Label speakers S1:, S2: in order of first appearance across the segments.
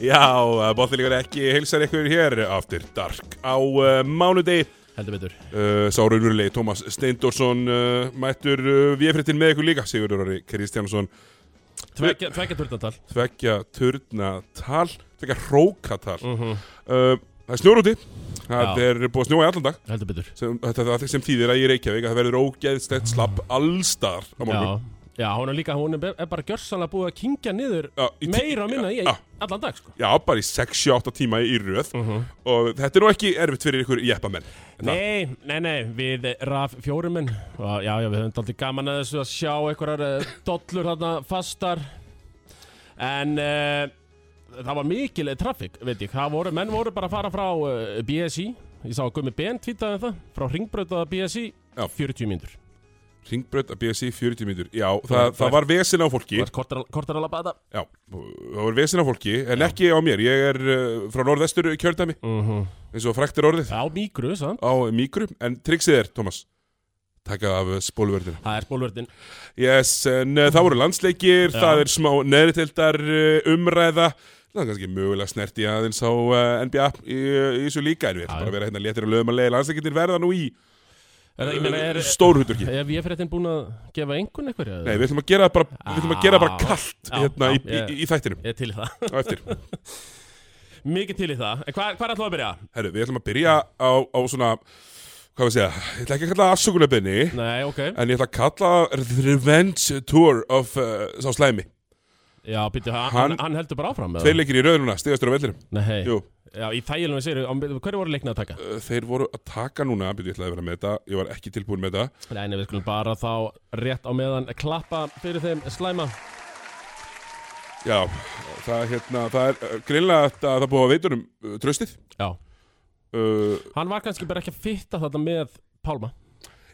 S1: Já, bóttilíkar ekki heilsar ykkur hér aftur Dark á uh, mánudegi
S2: heldur betur
S1: uh, Sá raunverulegi Tómas Steindorsson uh, mættur uh, viðfrittin með ykkur líka Sigurður Ari Kristjánsson
S2: Tvekja, tvekja turtantal
S1: Tvekja turnatal, tvekja hrókatal uh, Það er snjór úti, það
S2: Mhm. Já.
S1: er búið að snjóa í allan dag
S2: heldur betur
S1: sem, þetta, þetta sem þýðir að í Reykjavík að það verður ógeðslegt slapp allstar á morgun
S2: Já, já hún er líka, hún er, be- er bara gjörsanlega búið að kingja niður
S1: Já, í tí-
S2: meira og minna í
S1: Já.
S2: allan dag sko
S1: Já, bara í 6-8 tíma í röð
S2: Mhm.
S1: og þetta er nú ekki erfitt fyrir ykkur jeppamenn Þetta-
S2: Nei, nei, nei, við eh, raf fjórumenn og já, já, við höfum aldrei gaman að þessu að sjá einhverjar eh, dollur þarna fastar en uh, það var mikil eh, traffík, veit ég, það voru, menn voru bara að fara frá uh, BSI, ég sá að Gumi Ben tvítaði það, frá ringbrautaða BSI
S1: Já.
S2: 40 mínútur,
S1: Ringbraut að BSI 40 mínútur Já,
S2: Það-
S1: það, það var vesen á fólki
S2: það var kortar, kortar alveg að
S1: Já, það var vesen á fólki En ekki á mér, ég er uh, frá norðvestur kjördæmi eins og frækt er orðið
S2: Já, mýgru, sann,
S1: á mikru En triksið er, Tómas Taka af spólverðina
S2: það er spólverðin
S1: Yes, en uh, það voru landsleikir
S2: Já.
S1: Það er smá neðriteldar uh, umræða Það er kannski mögulega snerti aðeins á uh, NBA í, í þessu líka En við
S2: Já,
S1: erum
S2: já.
S1: bara að vera hérna léttir að lögum að leiða Landsleikinir verða nú í
S2: Er, ég meina, er,
S1: uh, stórhuturki
S2: Ef ég fyrir þetta búin að gefa einhvern einhverja
S1: Nei, við ætlum að gera það bara, við ætlum að gera það bara
S2: Já.
S1: kallt
S2: Já,
S1: hérna
S2: já,
S1: í, í,
S2: ég-
S1: í þættinum
S2: Ég er til í það
S1: á eftir
S2: Mikið til í það En hvað hva er alltaf að byrja?
S1: Herru, við ætlum að byrja á, á svona Hvað við segja, ég ætla ekki að kalla afsökunarbyrni
S2: Nei, ok
S1: En ég ætla að kalla The Revenge Tour of uh, Sá Slæmi
S2: Já, býttu, hann, hann,
S1: Hann-
S2: heldur bara áfram
S1: Tveir leikir í rauðnuna, stigastur á vellinum
S2: Nei,
S1: Jú,
S2: já, í þægilegum sér Hverju voru leiknað að taka?
S1: uh, þeir voru að taka núna Býtu, ég ætlaði að vera með þetta, ég var ekki tilbúin með þetta
S2: Nei, nei, við skulum bara þá rétt á meðan klappa fyrir þeim slæma
S1: Já, það, er hérna, það er uh, greinlega að það er búið að veitur um uh, tröstið
S2: Já
S1: uh,
S2: Hann var kannski bara ekki að fitta þetta með Pálma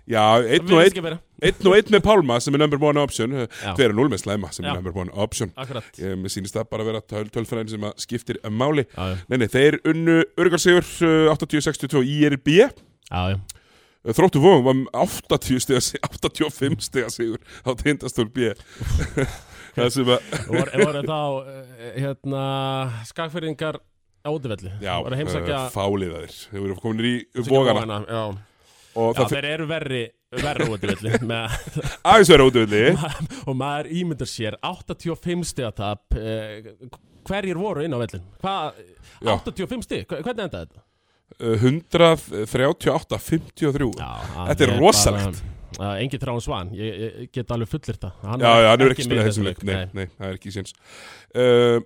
S1: Já,
S2: Það
S1: einn og
S2: virðist
S1: einn
S2: ekki vera.
S1: Einn og einn með Pálma sem er number one option Uh,
S2: Já.
S1: Hver er núl með Slæma sem
S2: Já.
S1: er number one option
S2: Akkurat
S1: Ég, Mér sýnist það bara að vera töl, tölfræðin sem að skiptir máli
S2: Já, já.
S1: Nei, nei, þeir unnu eh, Örgarsigur 80-62 IRB uh,
S2: Já, já
S1: Þróttu vóðum var með 80 stiga, sig- 85 stiga sigur á tindastól B Það sem að
S2: Voru, voru þá, eh, hérna, skagfyrringar á útivelli
S1: Já,
S2: Voru að heimsækja
S1: uh, fáliðaðir Þeir voru komin í
S2: heimsækja
S1: vógana
S2: Vogana, Já
S1: Og
S2: Já,
S1: það fyrir
S2: þeir eru verri, verri útivilli með,
S1: aðeins verið ódöðli
S2: og maður ímyndar sér 85 stegatap eh, hverjir voru inn á vellin Hvað,
S1: Já.
S2: 85 steg, Hva- hvernig endaði þetta?
S1: Eh, 138-53
S2: Já,
S1: Þetta er rosalegt.
S2: uh, Engi Trán Svan, ég, ég get alveg fullir það hann
S1: Já, já, hann hefur ekki
S2: með í
S1: spilað þessum leik nei, nei, það er ekki séns uh,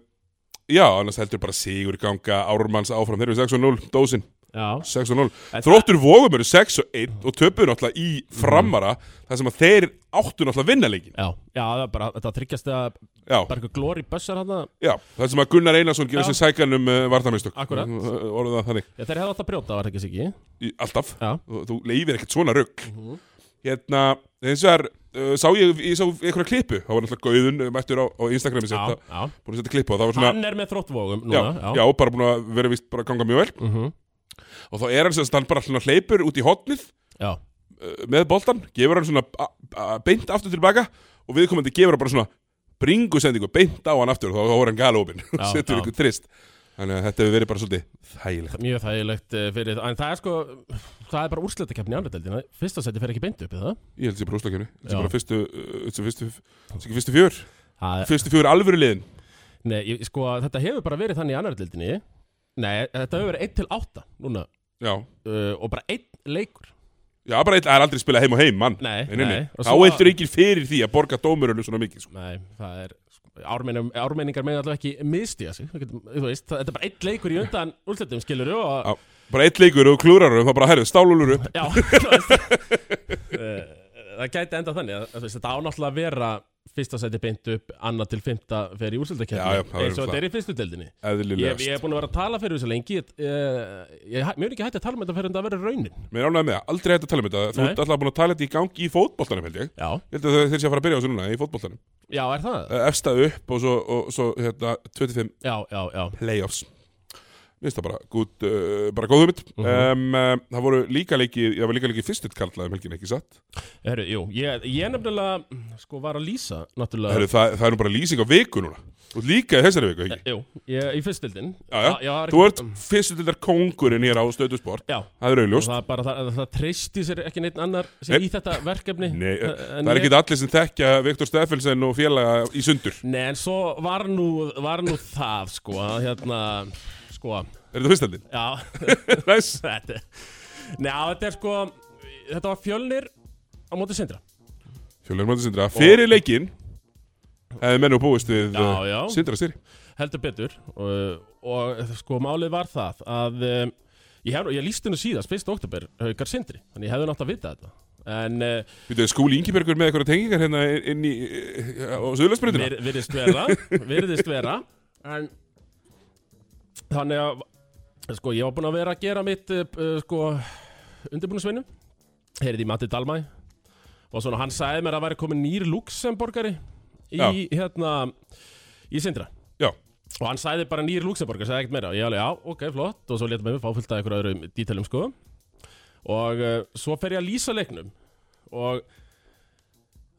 S1: Já, annars heldur bara sigur ganga Ármanns áfram, þeir eru 6-0 Dósin,
S2: Já,
S1: 6-0 Þróttur vógum eru 6-1 og töpuðu náttúrulega í framara þar sem að þeir áttu náttúrulega að vinna leikin
S2: já, já, það er bara, þetta tryggjast að
S1: Já,
S2: bara eitthvað glóri bössar hann
S1: já, þar sem að Gunnar Einarsson gerir
S2: Já.
S1: sér sækan um uh, vartamistök
S2: Akkúrat.
S1: Orðum eh, það þannig,
S2: Þeir hefðu átt að brjóta, var það ekki sikki?
S1: í, alltaf
S2: Já, Mhm.
S1: þú, þú leifir ekkert svona rugg Hérna, eins og er Uh, sá ég, ég sá einhverja klippu það var náttúrulega gauðun uh, mættur á, á Instagrami
S2: já,
S1: sitt að-
S2: já
S1: búin að setja klippu og það var svona
S2: Hann er með þróttvogum
S1: já,
S2: núna
S1: já, bara búin að vera vist bara að ganga mjög vel
S2: Mhm.
S1: og þá er hann sem sagt, hann bara svona hleypur út í hotnið
S2: já.
S1: uh, með boltan, gefur hann svona a- a- beint aftur tilbaka og viðkomandi gefur hann bara svona bringu sendingu, beint á hann aftur og þá þá er hann galopin,
S2: Já,
S1: setur
S2: já.
S1: ykkur trist þannig að þetta hefur verið bara svolítið þægilegt
S2: Mjög þægilegt eh, fyrir, en það er sko, það er bara úrslitakeppni í annað deildina, fyrsta seti fer ekki beint upp í það.
S1: ég held sér bara úrslakefni, þetta
S2: Já.
S1: er bara fyrstu uh, þetta er fyrstu, þetta er fyrstu fjör
S2: það er,
S1: fyrstu fjör alvöru liðin
S2: nei, ég, sko, þetta hefur bara verið þannig í annað deildinni, nei, þetta hefur verið 1 til 8 núna
S1: já,
S2: uh, og bara 1 leikur.
S1: já bara eitt, það er aldrei spilað heim og heim mann
S2: Nei,
S1: Nei, nei, nei.
S2: nei. Og
S1: þá
S2: svo-
S1: eitthvað ekki fyrir því að borga dómurinu svona mikið sko.
S2: Nei, það er, sko, ármenningar, ármenningar með allavega ekki misti að sig, Við getum- þú veist, það, þetta er bara 1 leikur í undan úrslitum, skilur þú, og
S1: Já, bara eitt leikur og klúrar og það bara herðu stálulur upp
S2: já, þú veist, uh, það gæti enda þannig, að, að, þetta ánáttúrulega að vera fyrsta seti beint upp, annað til fymta fer í
S1: Já, já, það
S2: úrslitakeppni,
S1: verður
S2: eins og
S1: það.
S2: þetta er í fyrstu deildinni. Ég,
S1: eðlilegast
S2: ég hef búin að vera að tala fyrir þessu lengi Ég, ég, ég mjög ekki hætti að tala um þetta fyrir en það verður raunin
S1: Mér ánægði með það, aldrei hægt að tala um þetta Þú
S2: Nei.
S1: ert alltaf búin að tala þetta í gangi í fótboltanum held ég
S2: Já,
S1: Ég held að þeir- þeir sé að fara að byrja á þessu núna í fótboltanum
S2: já, er það?
S1: Eh, Efsta upp og svo, og, svo hérna, 25
S2: Já, já, já
S1: playoffs minnst það bara, gúd, uh, bara góðum mitt
S2: Mhm.
S1: mm það voru líka leiki það var líka leiki fyrstitt karlaði um helgin, ekki satt
S2: Heru, jú, ég, ég nefnilega sko var að lýsa náttúrulega
S1: Heru, það, það er nú bara lýsing á viku núna og líka í þessari viku, ekki?
S2: Jú, ég, í fyrstildin
S1: Já, já, þú ert fyrstildar kongurinn hér á stöðu sport
S2: Já,
S1: það er
S2: og
S1: auðljóst
S2: það, er bara, það, það treysti sér ekki neitt annar sem
S1: Nei.
S2: í þetta verkefni
S1: Nei,
S2: eh, en
S1: það er
S2: ég-
S1: ekki allir sem þekkja Viktor Steffelsen og félaga í sundur
S2: Nei, en svo var nú, var nú það sko, að hérna sko,
S1: Er þetta fyrstendin?
S2: já
S1: Næs
S2: þetta, Nei, já, þetta er sko þetta var fjölnir á móti sindra
S1: Fjölur Máttur Sindra Fyrir leikinn Hefði menn og búist við
S2: Já,
S1: uh,
S2: já.
S1: Sindra styr
S2: heldur betur og, og sko málið var það að um, ég, hef, ég líst hennu síðast, 1. oktober haukar sindri, þannig ég hefði nátt að vita þetta en uh,
S1: Við þau skúli Ingibergur með eitthvað tengingar hérna inn í uh, á Suðurlandsbreytina
S2: vir, virðist vera virðist vera en þannig að sko ég var búinn að vera að gera mitt uh, uh, sko undirbúinusvinnu heyrið í Matti Dalmæ og svona hann sagði mér að það væri komin nýr Luxemborgari í
S1: Já.
S2: hérna í Sindra
S1: Já,
S2: og hann sagði bara nýr Luxemborgar, sagði ekkert meira og ég alveg, já, ok, flott og svo leta mig upp áfyllt að einhverju öðrum dítalum sko og uh, svo fer ég að lýsa leiknum og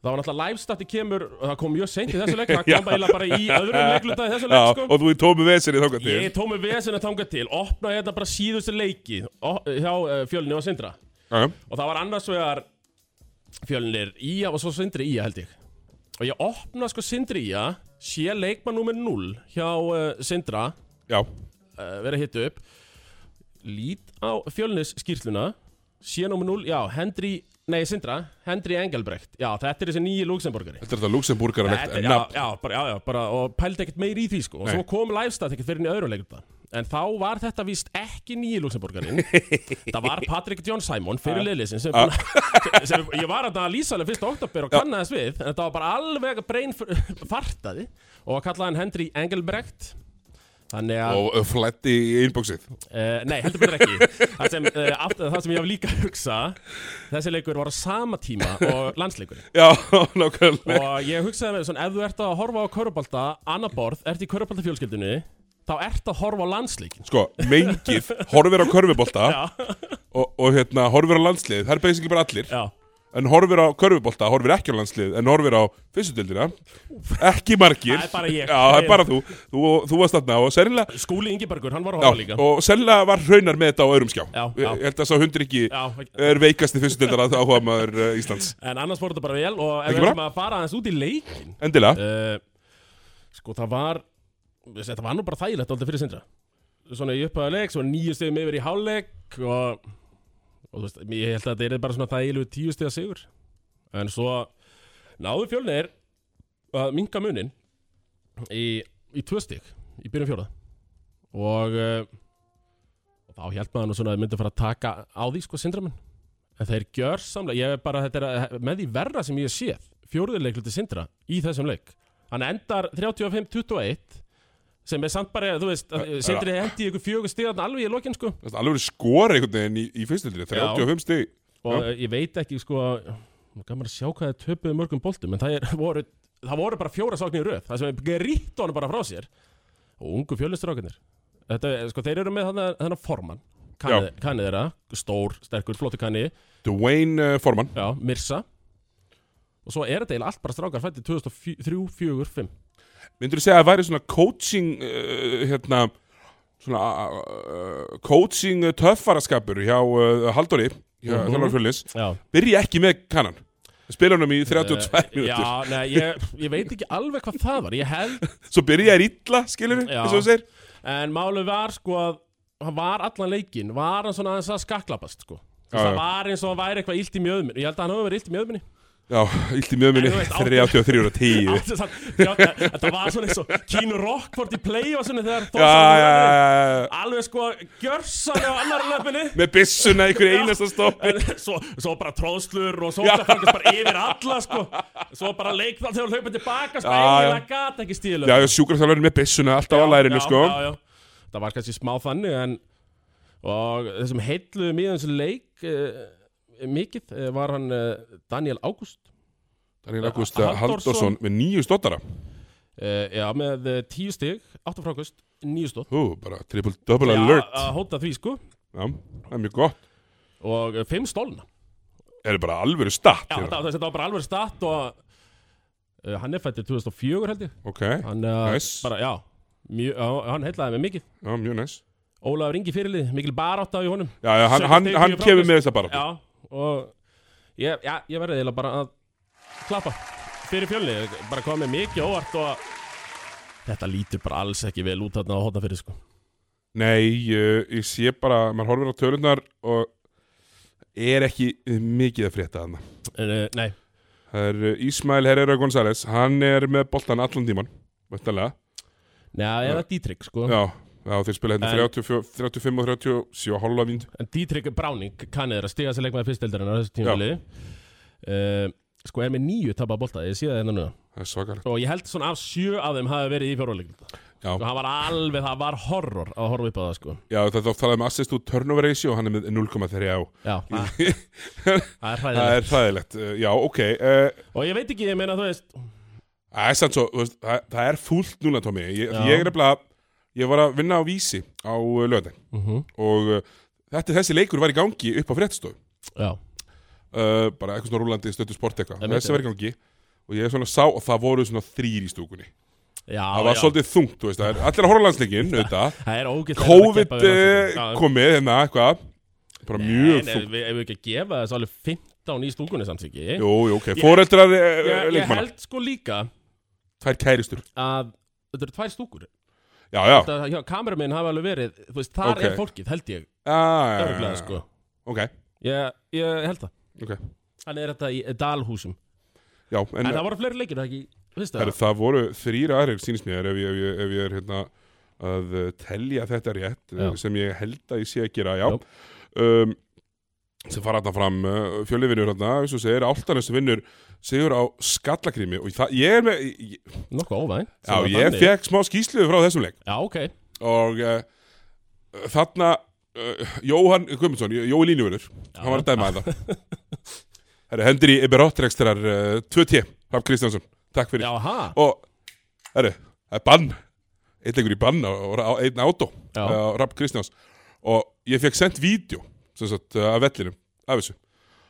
S2: það var náttúrulega livestatti kemur og það kom mjög seint í þessu leik það
S1: Já.
S2: kom bara, eiginlega bara í öðrum leikluta í þessu
S1: já
S2: leik sko
S1: og þú í tómi vesinni þókað til
S2: ég tóð með vesinu þangað til opnaði hérna bara síðustu leiki o- hjá uh, fjölni og sindra
S1: Já,
S2: og það var annars vegar fjölnir ía og svo sindri ía held ég og ég opna sko sindri ía sé leikmann nummer 0 hjá uh, sindra
S1: já,
S2: uh, vera að hitta upp lít á fjölnis skýrsluna sé nummer 0, já, Hendri nei, Sindra, Hendri Engelbrekt já, þetta er þessi nýji Luxemburgari
S1: þetta er þetta Luxemburgar
S2: Þetta- já, já, bara, já, já, bara, og pældi ekkert meir í því sko. og
S1: Nei.
S2: svo kom livestand ekkert fyrir inn í öðrum leikum en þá var þetta víst ekki nýji Luxemburgarin það var Patrick John Simon fyrir liðlisin sem, búin að- sem ég var að lýsa alveg fyrst oktober og kannaðist við en það var bara alveg að brein fartaði og kallaði hann Hendri Engelbrekt þannig að
S1: Og fletti í inboxið
S2: Uh, nei, heldur betur ekki það sem, uh, aft, það sem ég hef líka að hugsa Þessi leikur var á sama tíma og landsleikur
S1: Já, nákvæmlega
S2: Og ég hugsaði með svona Ef þú ert að horfa á körubalta Anna borð, ert í körubalta fjölskyldinu Þá ert að horfa á landsleikin
S1: Sko, mengið, horfir á körfubolta
S2: Já,
S1: og, og hérna, horfir á landslið Það er basically bara allir
S2: já
S1: En horfir á körfubolta, horfir ekki á landslið En horfir á fyrstudildina Ekki margir
S2: Það er bara ég.
S1: Já, það er bara þú Þú, þú varst þarna og sennilega
S2: Skúli Ingebergur, hann var að
S1: Já,
S2: horfa líka
S1: og sennilega var raunar með þetta á öðrum skjá
S2: Já,
S1: Ég
S2: já.
S1: ég held að sá hundur ekki
S2: Já,
S1: er veikasti fyrstudildar að áhuga maður uh, Íslands
S2: en annars voru þetta bara vel Og ef
S1: Ekki
S2: við
S1: bra?
S2: erum að fara aðeins út í leikin
S1: Endilega,
S2: uh, Sko, það var Þetta var nú bara þægilegt Aldrei fyrir sindra Svona í upphæðu leik Svo nýju stegum yfir í hálfleik Og, og þú veist, ég held að þetta er bara svona þægilegu tíu stega sigur En svo náðu fjölnir Að minka munin Í, í tvö steg Í byrjun fjóða Og uh, og þá held maður nú svona að þau myndi fara að taka á því sko sindramenn en þeir gjör samlega, ég er bara þetta er að- með því verra sem ég sé fjóruðurleikluti sindra í þessum leik hann endar 35-21 sem er samt bara, þú veist að
S1: Já.
S2: sindri hendi ykkur fjögur stíðan alveg í lokin sko
S1: Þetta er alveg skora einhvern veginn í, í fyrstudildinni 35 stig
S2: og eh, ég veit ekki sko nú gaman að sjá hvað þeir töpuðu mörgum boltum en það er, voru, það voru bara fjóra sáknir röð það sem er rítt honum bara frá sér og ungu fjölistrákunir þetta, er, sko, þeir eru með þarna- þennan formann kanni, kanni þeirra, stór, sterkur, flottu kanni
S1: Dwayne uh, Forman
S2: já, Mirsa og svo er þetta eiginlega allt bara strákar fættið 2003, 2004, 2005
S1: Myndur þú segja að það væri svona coaching uh, hérna svona uh, coaching töffaraskapur hjá uh, Halldóri hjá
S2: Mhm.
S1: Þjálfur Fjölnis
S2: já,
S1: byrja ekki með kannan spila honum í 32
S2: Eh,
S1: mínútur
S2: já nei, ég, ég veit ekki alveg hvað það var ég held
S1: svo byrja er illa skilur við
S2: Já.
S1: eins og þú segir
S2: En málið var sko að hann var allan leikinn, var hann svona aðeins að skaklapast sko. Þú veist,
S1: Já,
S2: Það
S1: já.
S2: var eins og hann væri eitthvað illt í mjöðminni Ég held að hann hafi verið illt í mjöðminni
S1: já, illt í mjög minni
S2: En þú veist, á-
S1: 33 og 10
S2: Allt sem sagt, já, Þetta var svona eins og Kínu Rockford í play og svona þegar
S1: já, já, já,
S2: Þórsson
S1: já, já.
S2: Alveg sko gjörsanlega á annar löpunni
S1: með byssuna í einhverju einasta stoppi
S2: svo, svo bara tróðslur og sótafangast bara yfir alla sko. Svo bara leik það þegar hlaupið tilbaka sko,
S1: Já, já.
S2: eiginlega gat ekki stílu
S1: já, sjúkraþjálfurinn með byssuna alltaf á lærinu
S2: já,
S1: sko
S2: já, já. Það var kannski smá þannig en og þessum heilluðum í þessu leik uh, mikið uh, var hann uh, Daniel Ágúst
S1: Daniel August
S2: Ha- Halldórsson.
S1: Halldórsson með nýju stottara
S2: uh, Já, með eh, tíu stig, áttu frákust, níu stóð
S1: Hú, bara triple double
S2: Já,
S1: alert
S2: að hóta því sko
S1: Já, það er mjög gott
S2: Og eh, fimm stólna
S1: Er bara alvöru statt
S2: Já,
S1: hérna.
S2: þetta, þetta var bara alveg statt og uh, Hann er fættir 2004 held ég
S1: Ok,
S2: Hann, uh,
S1: Nice.
S2: bara, já, mjö, já, hann heillaði mig mikið
S1: já, mjög næs
S2: Ólafur Ingi fyrirlið, mikil barátta í honum
S1: Já, já, hann,
S2: Sökum
S1: hann,
S2: þig,
S1: hann
S2: ég
S1: kemur
S2: frábært.
S1: með þessa bara
S2: Já, og ég, já, ég verði eiginlega bara að klappa fyrir fjölni, bara komið mikið óvart og þetta lítur bara alls ekki vel út þarna á hotna fyrir sko.
S1: Nei, uh, ég sé bara, maður horfir á tölunar og er ekki mikið að frétta þarna
S2: En, uh, nei,
S1: Það er uh, Ismael Herrera González, hann er með boltan allan tíman Væntanlega
S2: neða, eða Dietrich sko.
S1: Já, já þeir spila hérna
S2: En-
S1: 34, 35 og 37 hálfa vind
S2: En Dietrich Browning kannið er að stiga sér leikmaði fyrsteldarinn á þessu tímafili. Uh, sko er með nýju tapað bolta, ég sé það hérna núna.
S1: Það er svakalegt
S2: Og ég held svona af sjö af þeim hafi verið í fjórvalegum.
S1: Já,
S2: Og hann var alveg, það var horror að horfa upp á það sko.
S1: já það þá talaði með assist úr turnover ratio, hann er með 0,3 á
S2: Já, það, það er
S1: Það
S2: hræðilegt.
S1: er hræðilegt, uh, já, ok uh,
S2: Og ég veit ekki, ég meina þú veist,
S1: Það er sann svo, þú veist, það, það er fúlt núna Tómi Ég,
S2: Já.
S1: ég er nefnilega, ég var að vinna á vísi á löðin
S2: uh
S1: og uh, þetta þessi leikur var í gangi upp á fréttstof
S2: já.
S1: uh, bara eitthvað svona rúlandi stöttu sport eitthvað
S2: Einmitt,
S1: þessi var í gangi og ég svona sá og það voru svona þrýr í stúkunni
S2: Já,
S1: það var
S2: já.
S1: svolítið þungt, þú veist, það er allir að horfa á landsleikinn auðvitað,
S2: Það er ógætt
S1: COVID eh, komið hérna eitthvað, bara mjög
S2: þungt
S1: þungt
S2: Við hefum ekki að gefa þessu alveg 15 í stúkunni samt ekki
S1: Jú, jú, ok, foreldrar
S2: ég,
S1: eh,
S2: ég
S1: leikmanna,
S2: held sko líka
S1: tvær kæristur
S2: að þetta eru tvær stúkur
S1: Já, já,
S2: Það- hjá Kameramenn hafa alveg verið Þú veist, þar
S1: Ok.
S2: er fólkið, held ég
S1: Ah, já, já,
S2: Örglega,
S1: já.
S2: sko
S1: ok,
S2: ég, ég held það
S1: ok
S2: Þannig er þetta í Dalhúsum
S1: Já,
S2: En,
S1: en eh,
S2: það voru fleiri leikir, það ekki Vist
S1: Herru,
S2: það?
S1: það voru þrýr aðrir sínist mér ef ég, ef ég, ef ég er hérna að uh, telja þetta rétt
S2: Já.
S1: já. sem ég held að ég sé að gera, já,
S2: Já.
S1: Um, sem fara þarna fram uh, fjölivinnur hérna, eins og segir, áltanest vinnur sigur á skallakrými og það, ég er með, ég,
S2: Nokkuð óvænt
S1: já,
S2: Sem var
S1: ég
S2: þannig.
S1: fekk smá skýslu frá þessum leik
S2: Já, ok
S1: og uh, þarna uh, Jóhann Guðmundsson, Jó- Jói Línuvinur hann var að dæma þetta Herru, hendur í Eberotrekstrar uh, 2T, Raff Kristjánsson, takk fyrir
S2: Já, ha
S1: og herru, það er bann einn leikur í bann á, á einn átó eh,
S2: Já.
S1: á Rapp Kristjáns og ég fekk sendt vídeo sem sagt uh, af vellinum, af þessu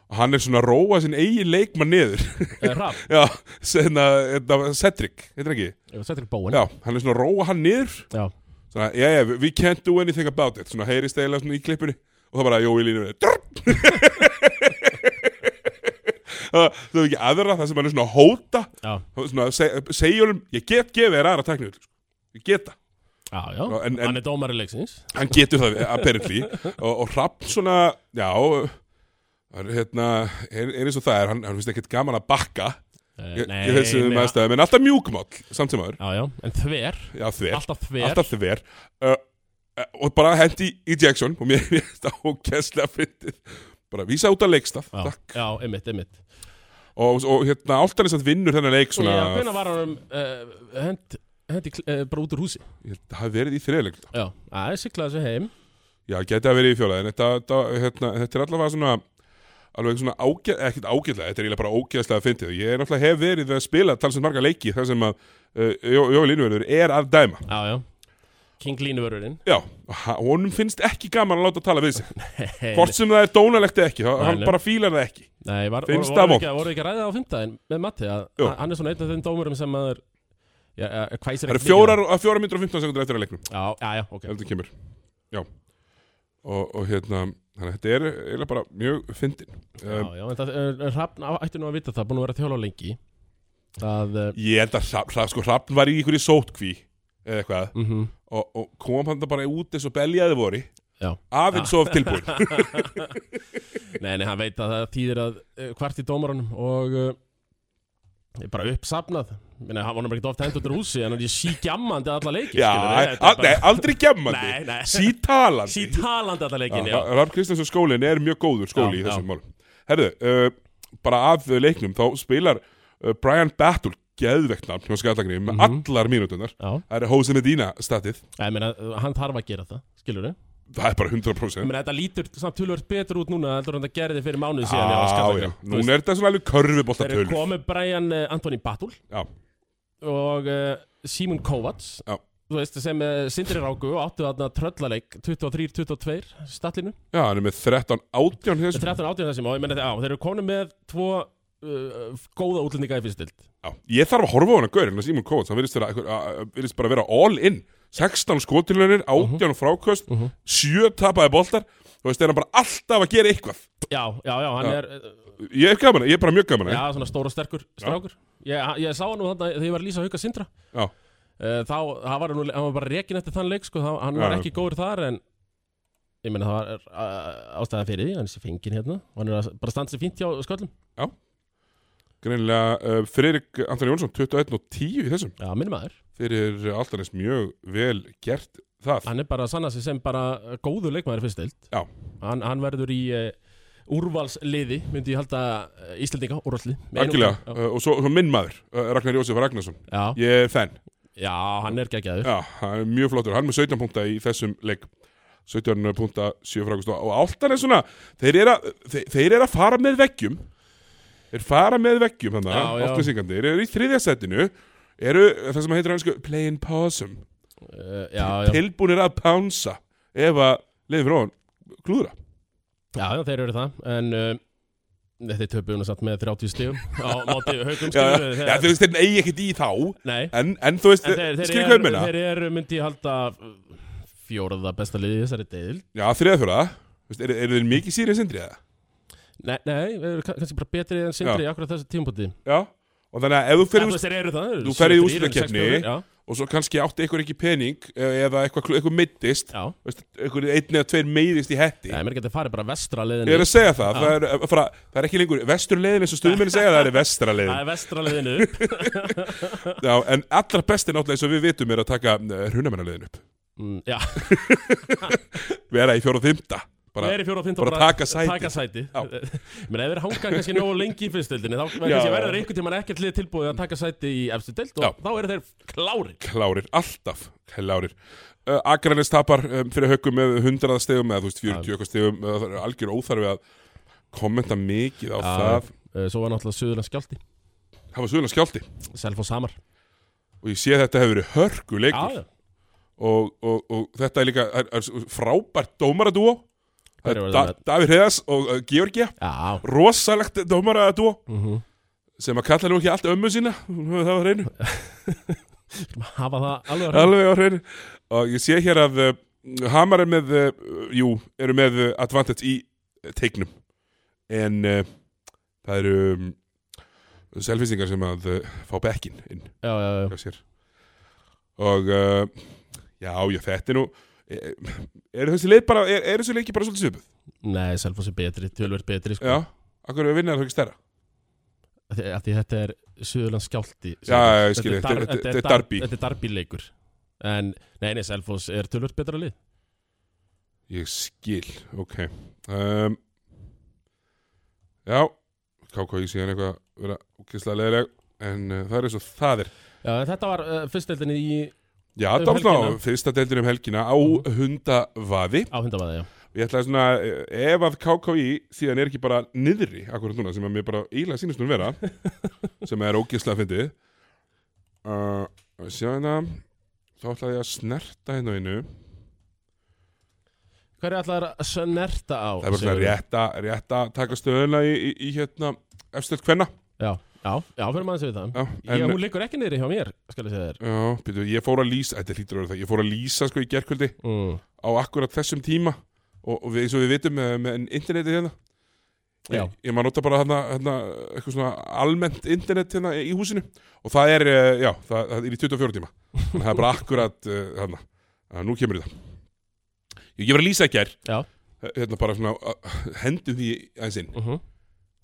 S1: og hann er svona að róa sinn eigin leikmann niður
S2: eh, Raf,
S1: já, senna, þetta, Cedric, heitir hann ekki
S2: ég var sættir í bóin
S1: já, hann er svona að róa hann niður
S2: já.
S1: svona, já, já, we can't do anything about it svona heyrist eiginlega svona í klippinu og það bara, jó, í línum það er ekki aðra það sem hann er svona að hóta
S2: Já.
S1: svona, seg, segjum, ég get gefið þér aðra teknið sko. ég geta,
S2: Já, já.
S1: Já, en- en-
S2: Hann er dómari leiksins
S1: hann getur það apparently, og, og Rapp svona já hann, hérna, er, er eins og það er, hann, hann finnst ekkert gaman að bakka
S2: Eh,
S1: í
S2: nei,
S1: í þessum
S2: nei,
S1: aðstæðum, en alltaf mjúkmáll samt sem aður,
S2: Já, já, en þver,
S1: já þver
S2: alltaf þver
S1: alltaf þver uh, uh, og bara hendi í Jackson og mér er þetta ókesslega fyndið bara vísa út að leikstaf
S2: já,
S1: takk.
S2: já, einmitt, einmitt
S1: og, og hérna áltanis að vinnur þennan leik svona,
S2: Já, hvernig var hann um, uh, hend, hendi kl- eh, bara út úr húsi
S1: ég held að það hafi verið í þriðleik
S2: Já, það er siklaði þessu heim
S1: Já, geti að verið í fjóla, en þetta, þetta, hérna, þetta er allavega svona alveg svona ágæð, ekkert ágæðlega, þetta er eiginlega bara ógæðslega að fyndið. Ég er náttúrulega hef verið að spila talsveit marga leiki þar sem að uh, Jó- Jói Línuverður er að dæma.
S2: Já, já King Línuvörurinn
S1: Já, og ha- honum finnst ekki gaman að láta tala við sig.
S2: Hey,
S1: Hvort sem það er dónalegt eða ekki, þá,
S2: Nei,
S1: hann
S2: nei.
S1: bara fílar það ekki.
S2: Nei, var,
S1: Finnst
S2: voru,
S1: það
S2: voru, ekki, voru ekki að ræða á fymtaðin með Matti að
S1: Jú.
S2: hann er svona einn af þeim dómurum sem maður Já, já,
S1: Það
S2: hvæsir
S1: eru
S2: ekki mikið á.
S1: fjórar, að fjórar myndur og 15 sekundur eftir að leiknum,
S2: Já, já, já, ok
S1: ef þetta kemur. Já, og, og hérna, þannig að þetta er eiginlega bara mjög fyndin.
S2: Já,
S1: Um,
S2: já, en það, eh, Hrafn á- ætti nú að vita það, búin að vera að þjóla lengi Það, uh,
S1: ég held að Hrafn, Hrafn- sko, Hrafn var í einhverju sótkví eða eitthvað.
S2: mhm
S1: og, og kom hann bara út eins og beljaði voru
S2: Já.
S1: aðeins of tilbúin
S2: Nei, nei, hann veit að það þýðir að uh, hvert í dómarunum og uh, er bara uppsafnað Minna, hann vonum ekki oft hendur út úr húsi en hann er síkjammandi alla leikin
S1: Já, al, nei, aldrei
S2: Nei,
S1: gemmandi
S2: nei.
S1: sítalandi
S2: Sítalandi alla leikin, já,
S1: Ralf Kristjánsson skólin er mjög góður skóli
S2: Já,
S1: í þessum
S2: já.
S1: málum Herðu, uh, bara að leiknum þá spilar uh, Brian Battle geðvegt nafn hjá Skallagrið
S2: Mhm.
S1: með allar mínutunar
S2: já.
S1: það er Hose Medina statið
S2: Ég meina, uh, hann þarf að gera það, skilur við
S1: það er bara 100%
S2: Ég meina, þetta lítur samt tölvöld betur út núna heldur en það gerði fyrir mánuð síðan já,
S1: Já, já,
S2: Skallagrim. Þú
S1: núna
S2: veist,
S1: er þetta svona alveg körfubolta
S2: Þeir eru
S1: tölur
S2: komið Brian uh, Antoni Batul
S1: Já,
S2: eh, og uh, Simon Kovacs
S1: Já.
S2: Þú veist, sem eh, sindri ráku og áttu þarna tröllaleik 23-22 stallinu
S1: Já, hann er með 13 átján þess
S2: 13 átján þessum og ég menna þetta á þeir eru konu með tvo uh, góða útlendinga í fyrstu dild
S1: Já, ég þarf að horfa á hann að gaur en að Simon Kovacs, hann virðist, vera, einhver- a- a- virðist bara vera all in 16 skotilunir,
S2: Mhm.
S1: 18 fráköst 7 tapaði boltar þú veist, er hann bara alltaf að gera eitthvað
S2: Já, já, já, hann
S1: Já.
S2: er uh,
S1: ég er gaman, að- ég er bara mjög gaman að-
S2: já, svona stór og sterkur strákur ég, ég sá hann nú þarna þegar ég var að lýsa hauka sindra
S1: Já.
S2: Eh, þá hann var, nú, hann var bara rekin eftir þann leik sko, þá- hann var
S1: Já.
S2: ekki góður þar en ég meina það var uh, ástæða fyrir því hann er sér fengin hérna og hann er að bara standa sér fínt hjá sköllum
S1: greinilega uh, Friðrik Antoni Jónsson 21 og 10 í þessum
S2: já, minn maður,
S1: fyrir alltaf eins mjög vel gert það
S2: hann er bara að sanna sig sem bara eh, góður leikmaður fyrst eilt
S1: Já.
S2: hann, hann verður í uh, úrvalsliði myndi ég halda uh, Íslandinga úrvalsliði Með einum-
S1: Algjörlega,
S2: já.
S1: uh, og svo, svo minn maður uh, Ragnar Jósef Ragnarsson,
S2: já,
S1: ég er fenn
S2: já, hann er geggjaður
S1: Já, hann er mjög flottur, hann er með 17 punta í þessum leik 17 punta 7 frákust og áltan er svona þeir eru að, þeir, þeir eru að fara með veggjum þeir fara með veggjum þannig
S2: Já, já.
S1: áltan syngandi, þeir eru í þriðja setinu eru það sem heitir á einsku playin possum,
S2: uh, já, já.
S1: tilbúnir að pánsa ef að leiði frá hann klúðra
S2: já, já, þeir eru það en uh, þeir töpuðum satt með 30 stigum á móti
S1: Já,
S2: haugum skilur
S1: já, þú veist, þeir eigi ekkert í þá
S2: nei
S1: en, en þú veist,
S2: En þeir, þeir,
S1: skilur
S2: eru-
S1: hvað ég meina
S2: þeir eru, myndi ég halda uh, fjóraða besta liðið í þessari deil
S1: Já, þriða fjóra, þú veist, eru, eru þeir mikið sýrið sindriða?
S2: Nei, nei, við erum kannski bara betri en sindri í akkurat þessu tímpúti
S1: Já, og þannig að ef þú
S2: Þeir
S1: fyrir
S2: eru það þeir eru
S1: þú ferð í
S2: sjö, þrír,
S1: úrslitakeppni.
S2: sex, fjórir, Já,
S1: og svo kannski átti einhver ekki pening eh, eða eitthvað, klu- eitthvað mittist
S2: já,
S1: einhver einn eða tveir meiðist í hetti
S2: já ég meir geti farið bara vestra
S1: ég
S2: liðinu
S1: er að segja það,
S2: Já.
S1: það er, eh, frá, það er ekki lengur vesturleiðin eins og stuðmenni segja það er vestraleiðin
S2: Það er vestra liðinu upp
S1: Já, en allra besti náttúrulega eins og við vitum er að taka hrunamennarleiðin upp
S2: Mm, Já,
S1: vera í fjóra og fymta
S2: við
S1: bara,
S2: erum fjóra og fint
S1: bara taka sæti.
S2: taka sæti.
S1: Já.
S2: Ég meina, ef þeir hanga kannski nógu lengi í fyrstildinni þá
S1: Já,
S2: kannski
S1: já.
S2: verður einhvern tímann ekkert lið tilbúið að taka sæti í efstu deild
S1: Já.
S2: og þá eru þeir klárir
S1: klárir, alltaf klárir uh, Akranes tapar um, fyrir högum með 100 stegum eða þú veist 40 eitthvað stegum eða það er algjör óþarfi að kommenta mikið á
S2: Já.
S1: það
S2: Eh, Svo var náttúrulega Suðurlands skjálti
S1: það var sögulega skjálti
S2: Selfoss Hamar
S1: og ég sé að þetta hefur verið hörgu leikur
S2: Já, já.
S1: og, og, og þetta er líka er, er frábært dómaradúo
S2: Hverjir voru
S1: da,
S2: það með?
S1: Davíð Hreðas og uh, Georgia
S2: Já,
S1: rosalegt dómaradúo
S2: Mhm.
S1: sem að kalla nú ekki allt ömmu sína hún hefur það var reynu,
S2: hafa það alveg á hreinu.
S1: alveg á reynu og ég sé hér að uh, Hamar er með uh, jú, eru með uh, advantage í uh, teiknum en uh, það eru um, selfisingar sem að uh, fá bekkin inn
S2: Já, já, já.
S1: hjá sér og uh, já, já, þetta er nú er, er þessi leik bara er, er þessi leiki bara svolítið svipuð?
S2: Nei, Selfoss er betri, tölvöld betri sko.
S1: Já, akkur við vinnar það ekki stærra
S2: Þe- af Því þetta er Suðurlands skjálti
S1: Já, já, ég skil,
S2: Þetta
S1: þetta
S2: er
S1: er-
S2: dar-
S1: þetta er
S2: dar-
S1: derby.
S2: Þetta er darbi leikur En, nei, nei, Selfoss er tölvöld betra lið
S1: Ég skil, ok um, Já KK í síðan eitthvað að vera úkislega leðileg en uh, það er eins og það er
S2: Já, en þetta var uh, fyrsteldinni í
S1: Já,
S2: Um
S1: það var svona
S2: helgina.
S1: á fyrsta deildin um helgina á hundavaði
S2: áhundavaði, já
S1: Ég ætlaði svona, eh, ef að KKI síðan er ekki bara niðri akkurat núna sem að mér bara eiginlega sýnist hún vera sem er ógislega fyndið uh, síðan að þá ætlaði ég að snerta hérna á einu
S2: Hverju ætlar að snerta á?
S1: það er bara svona
S2: Sigurður?
S1: rétta, rétta taka stöðuna í, í, í hérna efstöld hvenna
S2: Já, já, já, fyrir maður sem við það
S1: Já,
S2: Já,
S1: en,
S2: hún liggur ekki niðri hjá mér, skal ég segja þér
S1: já, býtu, ég fór að lýsa þetta hlýtur að vera það, ég fór að lýsa sko í gerkvöldi
S2: mm.
S1: á akkurat þessum tíma og, og við, eins og við vitum með, með internetið hérna
S2: Já.
S1: ég, ég maður nota bara hérna, hérna eitthvað svona almennt internet hérna í húsinu og það er, eh, já, það, það er í 24 tíma Þannig að það er bara akkurat eh, hérna, að nú kemur þetta ég, ég var að lýsa ekki
S2: Já.
S1: hérna bara svona að- hendum því aðeins inn
S2: uh -huh.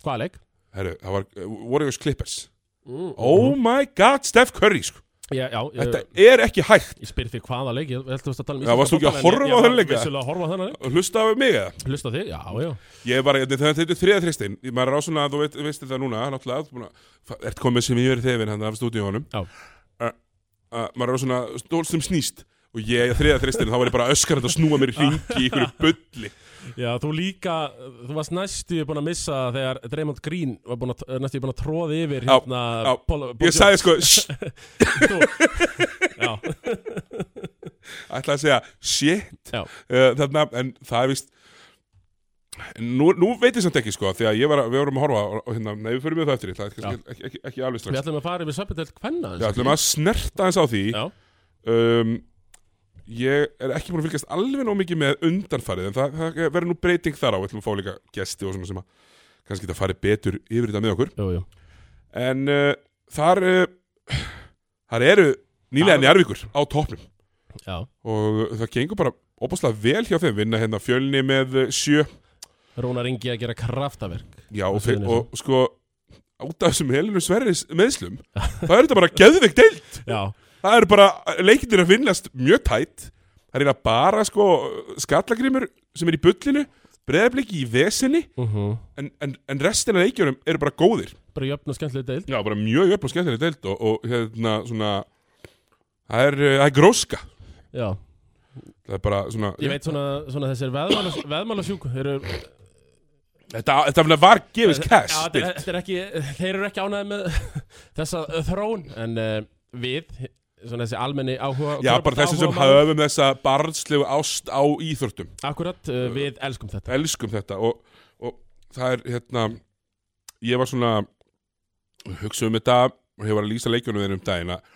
S2: Hvaða leik?
S1: Heru, það var eh, Warriors Clippers
S2: Mm.
S1: oh my god, Steph Curry sko.
S2: Já, já, ég,
S1: þetta er ekki hægt
S2: ég spyr því hvaða leik Ég heldur þú varst að tala um
S1: Já, varst þú ekki að
S2: íslenska boltann, en
S1: horfa á
S2: ég-
S1: þennan leik, eða?
S2: Ég var vissulega að horfa á þennan leik
S1: hlusta af mig eða
S2: Hlusta á þig, já, já
S1: Ég var, þetta þetta er þriða þristin Maður er á svona, þú veit, veist þetta núna Náttúrulega, þú búin að- fa- ert hérna komið sem ég er þefin Þannig af stúdíónum
S2: Já.
S1: uh, uh, Maður er á svona stól sem snýst og ég þriða þristinu, þá var ég bara öskarandi að snúa mér í hringi í ykkur bulli
S2: Já, þú líka, þú varst næstu búin að missa þegar Draymond Green var búin að, næstu búin að tróða yfir
S1: Já,
S2: hérna
S1: já.
S2: Paul- Paul
S1: ég sagði sko, "Shh,"
S2: George. sko- Já,
S1: ætlaði að segja shit,
S2: já,
S1: uh, þarna, en það er vist nú, nú veit ég samt ekki sko, því að ég var, að- við vorum að horfa og, og hérna, nei, við förum við það eftir í, það er kannski ekki, ekki, ekki alveg
S2: við
S1: strax
S2: ætlum að fara yfir söpindelt hvenna
S1: við ætlum að snerta eins á því
S2: Já,
S1: um, ég er ekki búin að fylgjast alveg nóg mikið með undanfarið en það, það verður nú breyting þar á við ætlum að fá líka gesti og svona sem að kannski geta farið betur yfir þetta með okkur
S2: jú, jú
S1: en uh, þar uh, þar eru nýlega
S2: Já.
S1: njárvíkur á toppnum
S2: Já,
S1: og það gengur bara opaslega vel hjá þeim vinna hérna fjölni með uh, sjö
S2: Rúnar Ingi að gera kraftaverk
S1: já og,
S2: Og
S1: fe-
S2: Suðurnesjum.
S1: og, og sko út af þessum helinu sverris meðslum það er þetta bara geðveik deild
S2: Já,
S1: það eru bara leikindir að vinnast mjög tætt það er eiginlega bara sko skallagrimur sem er í bullinu breðabliki í vesinni
S2: mhm
S1: en, en, en restina leikjunum eru bara góðir
S2: Bara jöfn og skemmtileg deild
S1: já bara mjög upp og skemmtileg deild og, og hérna svona það er, uh, það er gróska
S2: Já,
S1: það er bara svona
S2: ég veit svona, svona þessir veðmála- veðmálasjúku Þeir eru
S1: þetta, þetta var gefis
S2: Já,
S1: cash
S2: þetta er, þetta er ekki, þeir eru ekki ánæði með þessa þrón En uh, við, svona þessi almenni áhuga
S1: Já, bara þessi sem
S2: áhugamann-
S1: höfum þessa barnslegu ást á íþörtum
S2: Akkurat, uh, við elskum þetta
S1: Elskum þetta og, og það er hérna Ég var svona Hugsa um þetta og ég var að lýsa leikjunum þeirnum um daginn að það